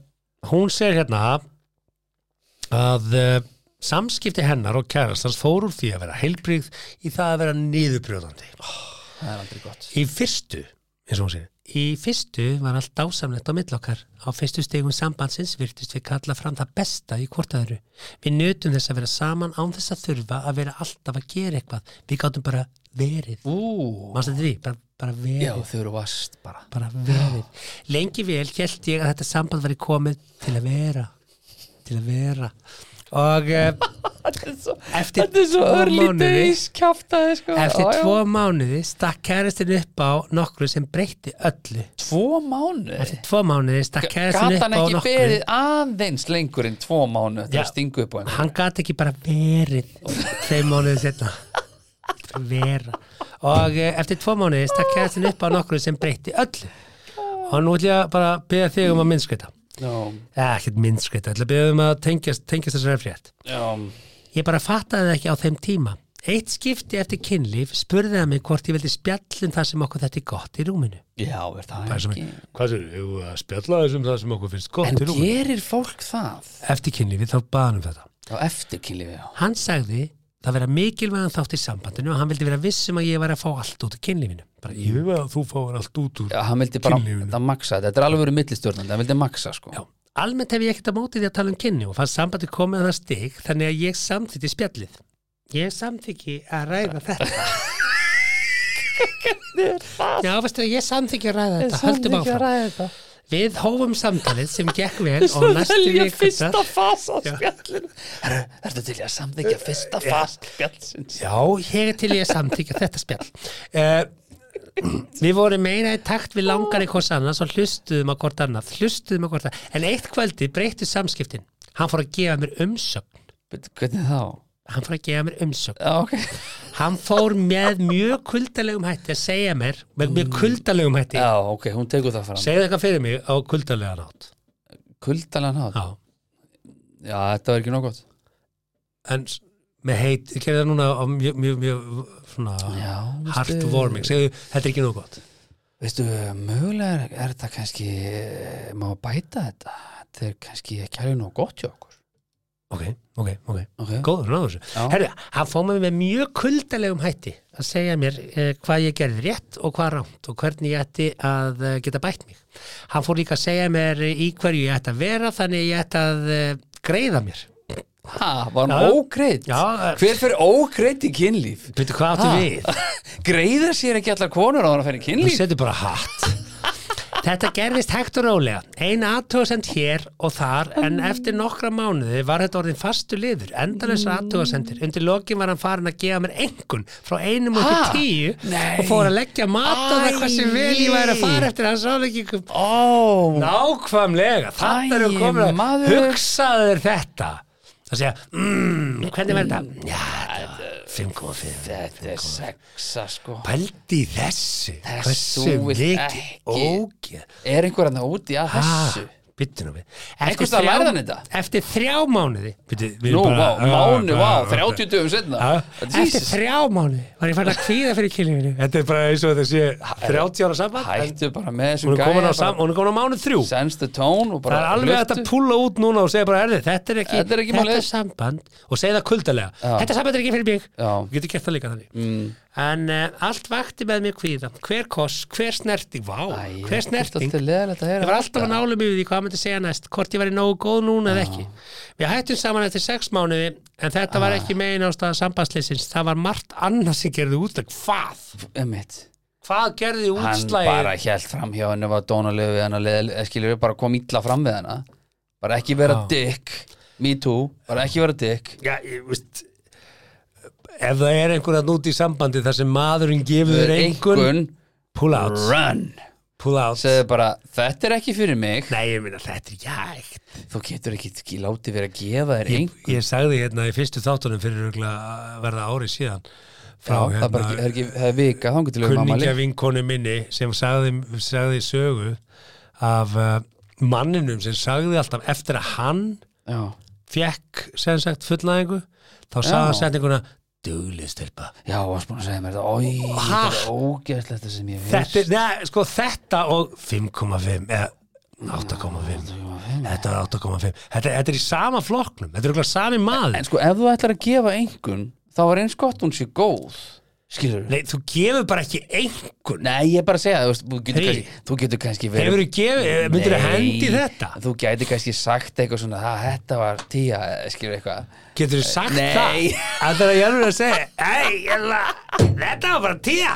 hún segir hérna að uh, samskipti hennar og kærastans fór úr því að vera heilbrigð í það að vera niðurbrjóðandi það er aldrei gott. í fyrstu, eins og hún segir Í fyrstu var allt dásamlegt á mill okkar. Á fyrstu stegum sambandsins virtist við kalla fram það besta í hvort aðru. Við nutum þess að vera saman án þess að þurfa að vera alltaf að gera eitthvað. Við gáttum bara verið. Ú, Mástu þetta því? Bara, bara verið. já, þau eru vast bara. Bara verið. Lengi vel held ég að þetta samband var í komið til að vera. Til að vera. Og (laughs) eh, Þetta er svo, Eftir þetta er svo tvo örlítið mánuði. í skjáftaði, sko. eftir tvo mánuði stakk kærastin upp á nokkru sem breytti öllu. tvo mánuði? Eftir tvo mánuði stakk Gat kærastin upp á hann nokkru. ekki beðið aðeins lengur en tvo mánuði til Já. að stingu upp á einhvern? hann gat ekki bara verið þeim mánuðið setna vera og eh, eftir tvo mánuði stakk kærastin upp á nokkru sem breytti öllu og nú ætla ég að bara beða þig um að minnskvita Já, eða ekkert minnskvita, ætla að beða um að tengjast, tengjast þessari frétt já, ég bara fattaði það ekki á þeim tíma eitt skipti eftir kynlíf spurði hann mig hvort ég vildi spjallum það sem okkur þetta er gott í rúminu já, er það ekki? hvað er, hefur við að spjalla þessum það sem okkur finnst En gerir fólk það? eftir kynlífi þá baðanum þetta Á eftirkynlífi, já. Hann sagði það vera mikilvægan þátt í sambandinu og hann vildi vera vissum að ég var að fá allt út úr kynlífinu. Bara ég vil að þú fáir allt út úr. Já, hann vildi bara, Kynlífinu. þetta maksa, þetta er alveg verið millistjórnandi, hann vildi maksa, sko. Já. Almennt hef ég ekkert á móti því að tala um kynni og fannst sambandi komið að það stig þannig að ég samþýtti spjallið. Ég samþykki að ræða þetta. Já, veistu, ég samþykki að ræða þetta. Höldum áfram. ræða þetta. Við hófum samtalið sem gekk vel og næstu vikundar. fasa á spjallinu. Herru, ertu til í að samþykja fyrsta fasa spjallsins? Já, ég er til ég að samþykja þetta spjall. Uh, við vorum meira í takt við langar einhvers annars og hlustuðum á hvort annað, hlustuðum á hvort annað. En eitt kvöldi breyttu samskiptin. Hann fór að gefa mér umsögn. Veitu, Hvernig þá? Hann fór að gefa mér umsögn. Já, ok. Hann fór með mjög kuldalegum hætti að segja mér, með mjög kuldalegum hætti. Já, ok, hún tekur það fram. Segðu eitthvað fyrir mig á kuldalega nátt. Kuldalega nátt. Já. Já, þetta var ekki nóg gott. En s- með heit, ég gerði það núna á mjög, mjög, mjög, svona, Já, veistu. heartwarming. Segðu, þetta er ekki nóg gott. Veistu, mögulega er, er þetta kannski, eh, má bæta þetta. Þetta er kannski ekki alveg nóg gott hjá okkur. Ok, ok, ok. Ok, góður náður þessu. Já. Herðu, hann fór mig með mjög kuldalegum hætti að segja mér eh, hvað ég gerði rétt og hvað rámt og hvernig ég ætti að eh, geta bætt mig. Hann fór líka að segja mér í hverju ég ætti að vera þannig að ég ætti að eh, greiða mér. Ha, var Já. hann ógreitt? Já, eh. Hver fyrir ógreitt í kynlíf? Veitu hvað áttu Ha? við? (laughs) Greiða sér ekki allar konur á hann að fyrir Þú kynlíf? setur bara hatt Þetta gerðist hægt og rólega Ein aðtóðsend hér og þar en eftir nokkra mánuði var þetta orðin fastu liður endalausar aðtóðsendir undir lokin var hann farin að gefa mér engun frá einum og Ha? upp í tíu Nei. og fór að leggja mat á það hversu vel ég væri að Æi. fara eftir hans áleggingum Ó, Nákvæmlega, Æi, þarna eru komin að maður. hugsaðu þér þetta Það segja, mmm, hvernig verður þetta? Já, þetta var 5,5 þetta er sexa sko Pældi í þessu Þessu Hversu vill mikið ekki. ógeð Er einhver hann úti að þessu? Byttu nú við Einhvers staðar þrjá- lærði hann þetta? Eftir þrjá mánuði Byttu, við Ah, Nú, vá, mánu, vá, bara- 30 dögum setna Já, Ah, Eftir Jesus. þrjá mánuði var ég fann að kvíða fyrir kynlífinu Þetta er bara eins og þetta sé 30 ára samband en Hættu bara með þessum Hún er komin á, sam, bara hún er komin á mánuð þrjú Sense the tone Það og bara er alveg hægt að hlustu. púlla út núna og segja bara erði, þetta er ekki, Þetta er ekki málið. samband og segja það kuldalega, Já. þetta samband er ekki fyrir mig Já. Þú getur gert það líka þannig mm. en uh, allt vakti með mér kvíða hver koss, hver snerting, vá Æ, hver snerting, Þetta er leðilegt að heyra ég var alltaf að nálum yfir því hvað hann myndi segja næst, hvort ég væri nógu góð núna eða ekki við hættum saman eftir sex mánuði en þetta Ah. var ekki megin ástæða sambandsleysins, það var margt annað sem gerði útlag, hvað? Einmitt. hvað gerði Hann útslagi? bara held fram hjá henni var dónalegu við hennar leðileg skilur við bara kom illa fram við hennar bara ekki vera Já. dick me too, bara ekki vera dick Já, ég veist Ef það er einhvern að núti í sambandi þar sem maðurinn gefur þér Eh, einhvern Pull out, run pull out segðu bara, þetta er ekki fyrir mig Nei, ég meina þetta er ekki hægt þú getur ekki, ekki látið verið að gefa þér ég, einhvern ég sagði hérna í fyrstu þáttunum fyrir örugglega að verða ári síðan Já, frá hérna- það er bara ekki, það er ekki, það er vika þá getur við mamma kunningja líf vinkonu minni sem sagði, sagði sögu af uh, manninum sem sagði alltaf eftir að hann Já. fekk sem sagt fullnæðingu þá sagði hann setninguna duglega stelpa Já, og hann spúin að segja mér þetta Ói, Ha? þetta er ógeðslegt það sem ég veist þetta, neð, sko, þetta og 5,5 eða 8,5 þetta er 8,5 þetta, þetta er í sama flokknum, þetta er okkur sami maður En sko, ef þú ætlar að gefa einhvern þá er eins gott hún sé góð Skilur Nei, þú gefur bara ekki einhvern Nei, ég er bara að segja, þú, veist, þú, getur, Hey. kannski, þú getur kannski verið hefur þú gefið, eh, myndir þú Nei, hendi þetta Þú gæti kannski sagt eitthvað svona "Ha, Þetta var tíja, skilur eitthvað getur þú sagt Nei. það að það er jörgur að segja ei, ég la, þetta var bara tíja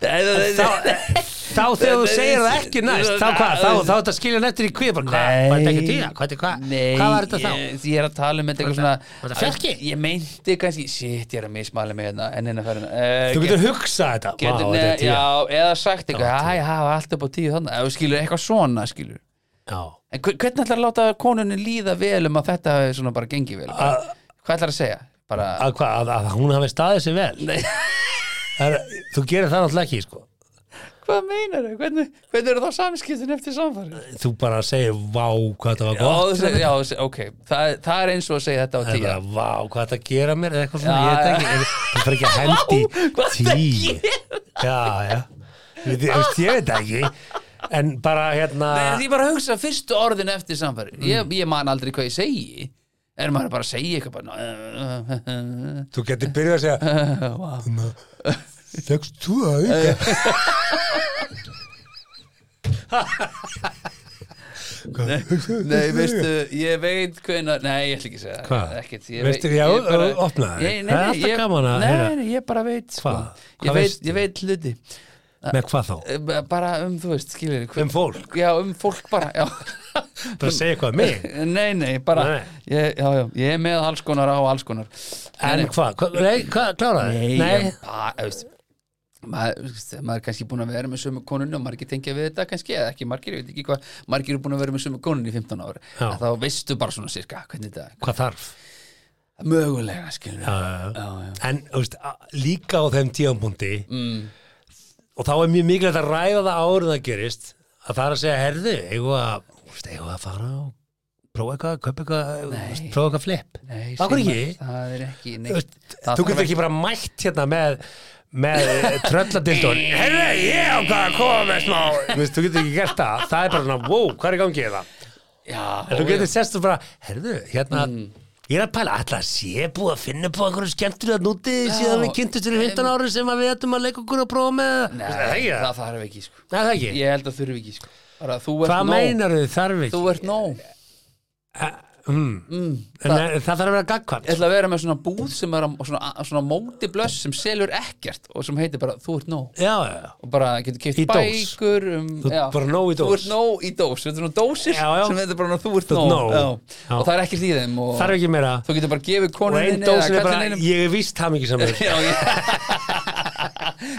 þá, eh, þá þegar þú segir það ekki næst þá hvað, þá, þá þetta skilja nættir í kvið bara, hvað, var þetta ekki tíja, hvað, hvað, Nei, hvað var þetta þá ég, ég er að tala um þetta eitthvað Var svona þetta- var þetta fjarki? Ég meinti kannski, shit, ég er að mismæla mig hérna En hérna ferðina uh, þú getur hugsað þetta, getur, vá, ne, þetta er tíja Já, eða sagt eitthvað, var hæ, hæ, það var allt upp á tíu þannig Ef þú skilur eitthvað svona, skilur já En hver- hvernig ætlar að láta konunin líða vel um að þetta hafi svona bara gengið vel? Hvað, hvað ætlar að segja? Bara, að, hva, að, að hún hafi staðið sér vel Nei. er, þú gerir það náttúrulega ekki sko. hvað meinar þau? Hvernig, hvernig eru þá samskiptin eftir samfarið? þú bara segir vá hvað það var Já, gott þú segir- já, þú segir, ok, það, er- það er eins og að segja þetta á það er tíu bara vá hvað það gera mér eða eitthvað svona, Já, ég veit já. ekki en það fer ekki að hendi hvað það tíu já, já Við- ég veist, ég veit það ekki en bara hérna Nei, ég bara hugsa fyrstu orðin eftir samfæri ég, ég man aldrei hvað ég segi er maður bara að segja eitthvað bara, þú getur byrjað að segja "Ná, fékkst þú það ekki Nei, veistu, ég veit hvenær Nei, ég ætla ekki að segja það. Hvað? Ekkert, Veistu, já, ég bara- opnaðu. Það er Ég- nei, nei, alltaf ég- gaman að Nei, heyra. nei, ég bara veit sko. Hvað? Ég Hvað veit, veistu? ég veit hluti með hvað þá? Eh, Bara um, þú veist, skilur um fólk, Já, um fólk bara, já bara að segja eitthvað um (laughs) mig (laughs) Nei, nei, bara Nei. ég, Já, já, ég er með alls konar á alls konar Nei, en nei. hvað, Hva- nei, hvað, kláraði? Nei, ég bara, þú veist maður, þú veist, maður er kannski búin að vera með sömu konunni og margir tengja við þetta kannski eða ekki margir, ég veit ekki hvað, margir eru búin að vera með sömu konunni í 15 ára, Já. að þá veistu bara svona sirka, hvernig þetta, hvað þarf? mögulega skilur við, já, já. en þú veist, a- líka á þeim tíðanbúndi Mm. og þá er mjög mikilvægt að ræða það áður en það gerist að það er að segja, herðu, eigum við að þú veist, eigum við að fara og prófa eitthvað kaupa eitthvað, þú veist, prófa eitthvað flip Nei, af hverju Sigmar, ekki? það er ekki Þú neitt, veist, það þú þarf getur ekki bara mætt hérna með með trölladildun herðu, ég ákvað að koma með smá Þú veist, þú getur ekki gert það, það er bara svona wow, hvað er í gangi hérna?" það? já, En þú ó, getur já. Mm. sérst og bara, herðu, hérna Ég er að pæla, alltaf sé búið að finna búið einhverju skemmtilega núti síðan við kynntumst fyrir 15 ári sem að við ættum að leika okkur að prófa með Nei, það er ekki það? það þarf ekki sko, Nei, það er ekki ég held að þurfi ekki sko, bara þú ert Hvað nóg meinar þau þarf ekki? þú ert nóg En það, það þarf að vera gagkvæmt Ég ætla að vera með svona búð sem er að, svona, svona móti blöss sem selur ekkert og sem heitir bara þú ert nóg Já, já, já og bara getur keift Í dós. bækur um, Þú ert já. bara nóg í dós. þú ert nóg í dós, þetta er svona dósir Já, já. sem þetta er bara þú ert Þú ert nóg, nóg. Já. Já. og það er ekkert í þeim og Þarf ekki meira þú getur bara gefið Og konunni einn dósin er bara, ég er víst (laughs) hamingisamur já, ég...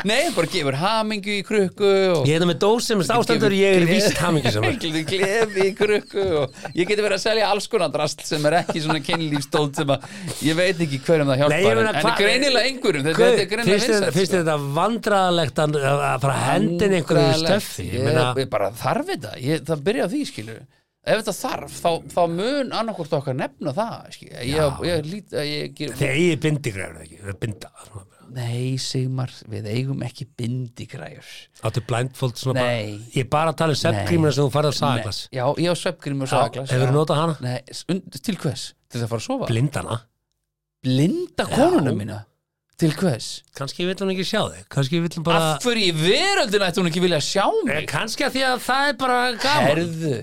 nei, bara gefur hamingu í krukku og Ég er það með dós sem ástandur, ég er víst (laughs) hamingisamur Gleði gleði í krukku og ég geti verið að selja alls konar drast sem er ekki svona kynlífstóld sem að ég veit ekki hverjum það Nei, ég hjálpar meina, en, en hvað- greinilega einhverjum þetta, Guð, þetta er greinilega sko. Finnst þér- vinsælt finnst þér þetta vandræðalegt að að fara að hendin einhverju Vandræðalegt. stöffi? Ég ég, meina, ég bara þarf þetta, ég, það byrja á því skilur ef þetta þarf, þá, þá mun annarkvort okkar nefna það skilur. ég, ég, lít, ég, ég, ég, þið eigið bindigræður ekki, það er binda nei Sigmar, við eigum ekki bindigræjur Áttu blindfold svona Nei. bara Ég er bara að tala um seppgrímuna sem þú farið á sagaglas já, ég á sveppgrímur og sagaglas Hefur þú já. notað hana? Nei, und- til hvers? Til það að fara að sofa? Blindana? Blinda konuna mína? Til hvers? Kanski vill hún ekki sjá þig Kanski vill hún bara Af hverju í veröldin ætti hún ekki vilja sjá Eh, mig? Kannski að því að það er bara gaman Herðu,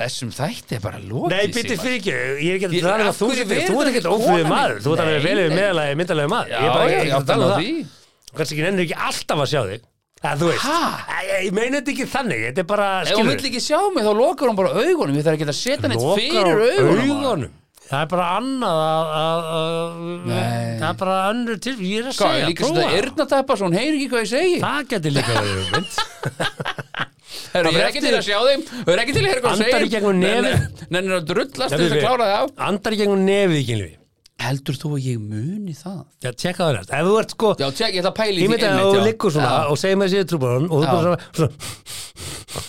þessum þætti er bara lokið Nei, býttu Sigmar. fyrir ekki, ég er ekki að Ég- tala um af að þú hverju sér Þú ert verður ekki ekki ófríður konan maður, mín? þú ert alveg Nei, velið nei. meðalagi, myndalegi maður Já, Ég er bara ég ekki að átt tala um það því Kannski ekki nennir ekki alltaf að sjá þig Það þú veist, Ha? Æ, ég ég meina þetta ekki þannig Þetta er bara, Ef hún skilur vill ekki sjá mig þá lokar hún bara augunum Ég þarf ekki að setja neitt Lokar fyrir augunum, maður. augunum. Það er bara annað að, að, að Nei. Það er bara önnur til, ég er að Hvað, ég segja, líka prófa svona yrnatappa svo hún heyri ekki hvað ég segi Það geti líka verið (laughs) mynd Herru, það fer ég er ekki eftir- til að sjá þeim Þau er ekki til að heyra hvað ég Andar í segi gegnum Nennir að drullast til þess að klára það á Andar í gegnum nefið í kynlífi Heldur þú að ég muni það? Já, tjekka það næst Ef þú ert sko, Já, tjekk, ég ætla að pæli ég myndi að þú liggur svona já, og segir með sér trúbarun og þú Já. bara svona, svona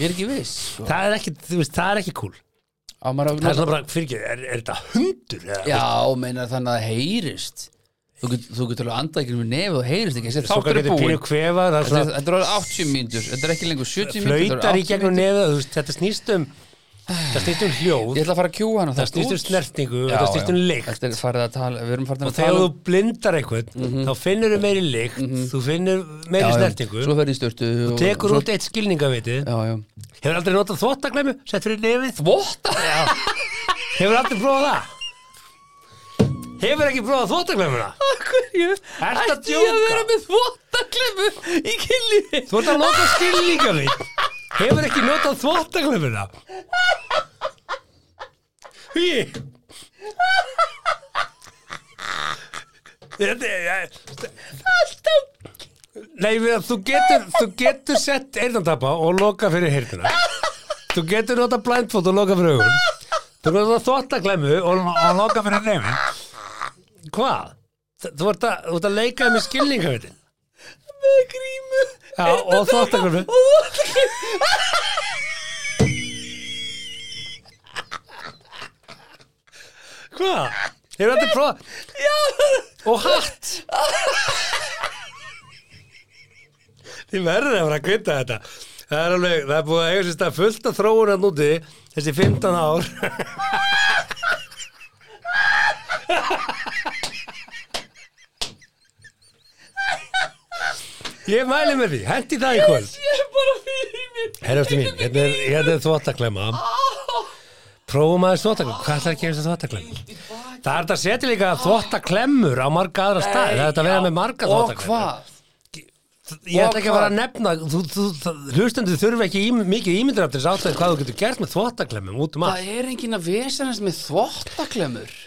Ég er ekki viss sko. það er ekki, þú veist, það er ekki cool Á maður að Það er svona bara, fyrir ekki, er, er þetta hundur? eða? Já, meinar þannig að það heyrist Þú getur, þú getur alveg andað ekki með nefið og heyrist ekki Þessi Svo hvað þáttur er getur búin pínu kvefa, það er Þetta er- svona þetta er alveg 80 mínútur Þetta er ekki lengur 70 mínútur þetta flautar eru í 80 gegnum mínútur. nefið, þú veist, þetta snýst um það snýst um hljóð, Ég ætla að fara að kjúa hana það snýst um snertningu og það snýst um lykt Þetta er farið að tala Við erum farið og að þegar tala um- Mhm. þú blindar einhvern þá finnur þú meiri lykt, þú finnur meiri snertingu, Svo ferði í störtu tekur út eitt skilningaviti Já, já hefur aldrei notað þvóttaglæmu, sett fyrir nefið Vota Hefur aldrei prófað það? Hefur ekki prófað þvóttaglæmuna? Hverju Ertu að Ætti ég að djóka? vera með votaklefu í kynlífi Þú ert að loka skilninga við Hefur ekki notað þvóttaglæmuna? Hví? Þetta er... Alltaf Nei, við að þú getur, þú getur sett eyrnandapa og loka fyrir heyrnina Þú getur notað blindfold og loka fyrir augun Þú getur notað þvóttaglæmu og, og loka fyrir nefn Hvað? Þ- Þú ert að, þú ert að leika með skilninga við Með grímu Já, og þvóttaglæmu Og votaklefu Hvað? Hefur þetta prófað? Já Og hatt Þið verður að fara að kvita þetta Það er alveg, það er búið að eiga sér stað fullt af þróun að núti þessi 15 ár Ég mæli með því, hendi það í kvöld Ég er bara fyrir mér Herrastu mín, hérna er, hérna er þvóttaklema Prófum aðeins þvóttaklema Hvað ætlar að gefa þess að þvóttaklema? Það er þetta að setja líka þvóttaklemmur á marga aðra staði Það er þetta að vera með marga Og þvóttaklemmur hvað? Ég ætla og ekki að vera hvað? að nefna þú, þú, þú, Hlustendur þurfa ekki í, mikið ímyndir af þess ástæði hvað þú getur gert með þvottaklemmum út um allt Það er enginn að vesenast með þvottaklemur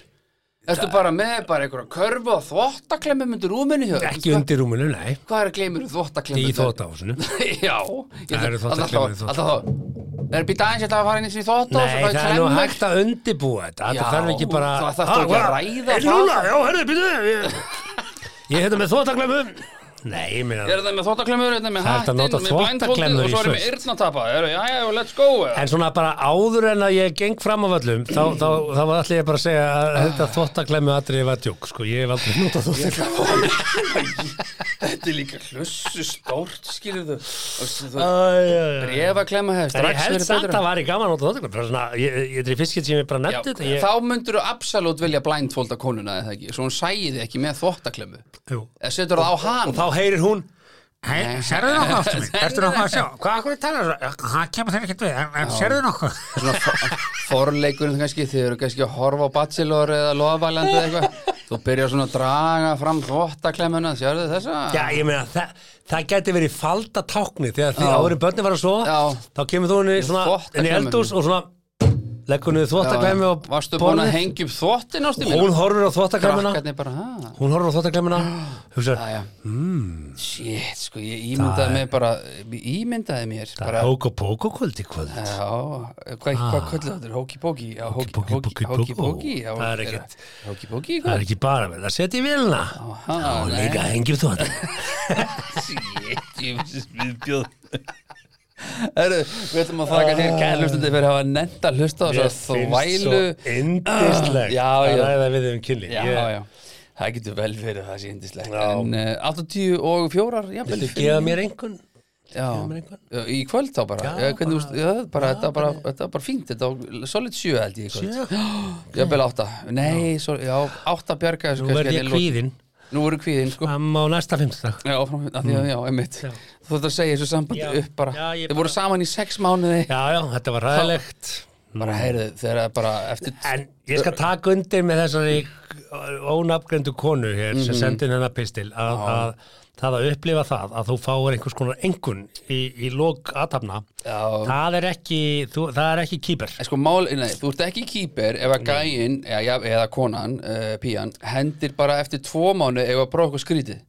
Ertu bara með bara einhverja körfu og þvottaklemur undir rúminu hjá þér? Ekki undir rúminu, nei Hvað er að gleymur þvottaklemur? Í þvóttahúsinu Já Það eru þvottaklemur í þvott. Alltaf þá Það er býta aðeins ég ætla að fara inn í því þvótt Nei, það er nú hægt að undibúa þetta Þetta Já, þarf ekki bara það þarf ekki að Ah, ræða er það. núna, já, herri, býtu Ég, (laughs) ég hefði með þvóttaklemmum Nei, ég meina Er þetta með þvottaklemur, er þetta með Það er hægt að hattinn, nota með blindfoldið þvottaklemmur í og svo er ég með yrnatapa Er- Já, já, let's go En svona bara áður en að ég geng fram af öllum þá, þá, þá var allir ég bara að segja að þetta Ah. þvóttaklemmu atriði var djók sko, ég hef aldrei notað þvóttaklemmu Þetta er líka hlussu stórt, skilur þú En Brefa klemma hefur ég held samt að það var í gaman að nota þvóttaklemmu bara svona, ég, ég, ég er í fiskit sem ég bara Já, nefndi þetta ég, Þá myndur þú absolutt vilja blindfolda konuna eða ekki, svo hún sæði þið ekki með þvottaklemmu Jú. eða setur það á hann Þá heyrir hún Hei, sérðu nokkuð aftur mig? Ertu nokkuð að sjá? Hvað akkur er talað? Það kemur þér ekkert við, en, en sérðu nokkuð? Svona þ- forleikurinn kannski, þið eru kannski að horfa á Bachelor eða Lofaland eða eitthvað þú byrjar svona að draga fram þvottaklemmuna, sérðu þessa? Já, ég meina, það, það gæti verið falda tákni þegar því Já. áður en börnin var að sofa, Já. þá kemur þú henni svona Þvottaklemmu. inn í eldús og svona leggur henni þvottaklemmu og Varstu búin að hengja upp þvottin ástu mín? Hún horfir á þvottaklemuna, Krakkarnir bara, hæ? hún horfir á þvottaklemuna, hugsaður, Æja, Hmm. mm. shit, sko, ég ímyndaði mér bara, ég ímyndaði mér það bara, er hók og pók og kvöld í kvöld. já, hvað, Ah. hvað köllu þetta, hóki-póki, já, Hóki-póki, hóki-póki, hóki-póki, já, það er ekkert. Það hóki-póki, er hvað, ekki bara verið að setja í vilna ha, og nei. líka hengjum (laughs) þvottaklemmu. shit, (laughs) ég finnst viðbjóð. Herru, við ætlum að þakka þér gæði hlustandi fyrir að hafa nefnt að hlusta á þess að þvælu. indislegt Já, að já. ræða við um kynli. Já, Ég- já, það getur vel verið að það sé hindislegt, Já. en uh, 84, já, Viltu gefa mér einhvern? Já, mér einhvern? Já, í kvöld þá bara, Já, já, hvernig, bara, já, bara, þetta, bara, þetta var bara fínt, þetta var solid 7 held ég í kvöld Sjö? Já, vel 8, nei, svo, já, sko, 8 bjarga Nú verð ég kvíðinn Nú verður kvíðin, sko fram á næsta fimmtdag. Já, frá, að, já, já, einmitt Mm. Já. Þú þurft að segja þessu sambandi Já, upp bara já, ég Þau voru saman í 6 mánuði Já, já, þetta var ræðilegt. Bara heyrðu, þegar það bara eftir En ég skal taka undir með þessari ónafgrendu konu hér sem Mhm. sendi inn hennar pistil að, að það að upplifa það að þú fáir einhvers konar engun í, í lók aðtapna Já. það er ekki, þú, það er ekki kýper En sko, mál, nei, þú ert ekki kýper ef að gæinn, eða, ja, eða konan, uh, pían, hendir bara eftir tvo mánu ef að bróða eitthvað skrítið.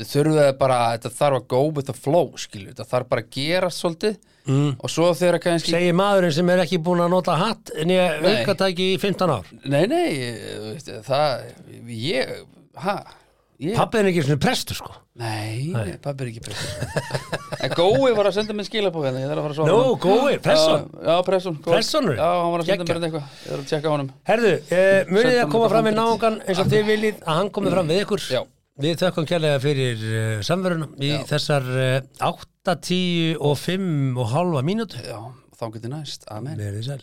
Þau þurfið bara, þetta þarf að go with the flow, skilju, þetta þarf bara að gera svolítið mm. og svo þegar kannski, segir maðurinn sem er ekki búin að nota hatt en ég Nei. aukatæki í 15 ár nei, nei, eh, veistu, það, ég, ha, ég, pappið er ekki svona prestur sko nei, nei. pappi er ekki prestur. en gói var að senda mér skilabók hérna, ég þarf að fara að svara. Nú, honum. góðir, presson Já, já, pressun. gói. Pressunur? Já, hann var að senda Geggjað. mér hérna eitthvað, ég þarf að tjekka á honum. Herðu, uh, munið þið Sendum að koma þetta fram við handrit. náungan eins og þið viljið að hann komi fram við ykkur Já. Við þökkum kærlega fyrir uh, samverunum í Já. þessar uh, 8, 10 og 5 og halva mínútu Já, þá getur næst, amen. Verðið sæl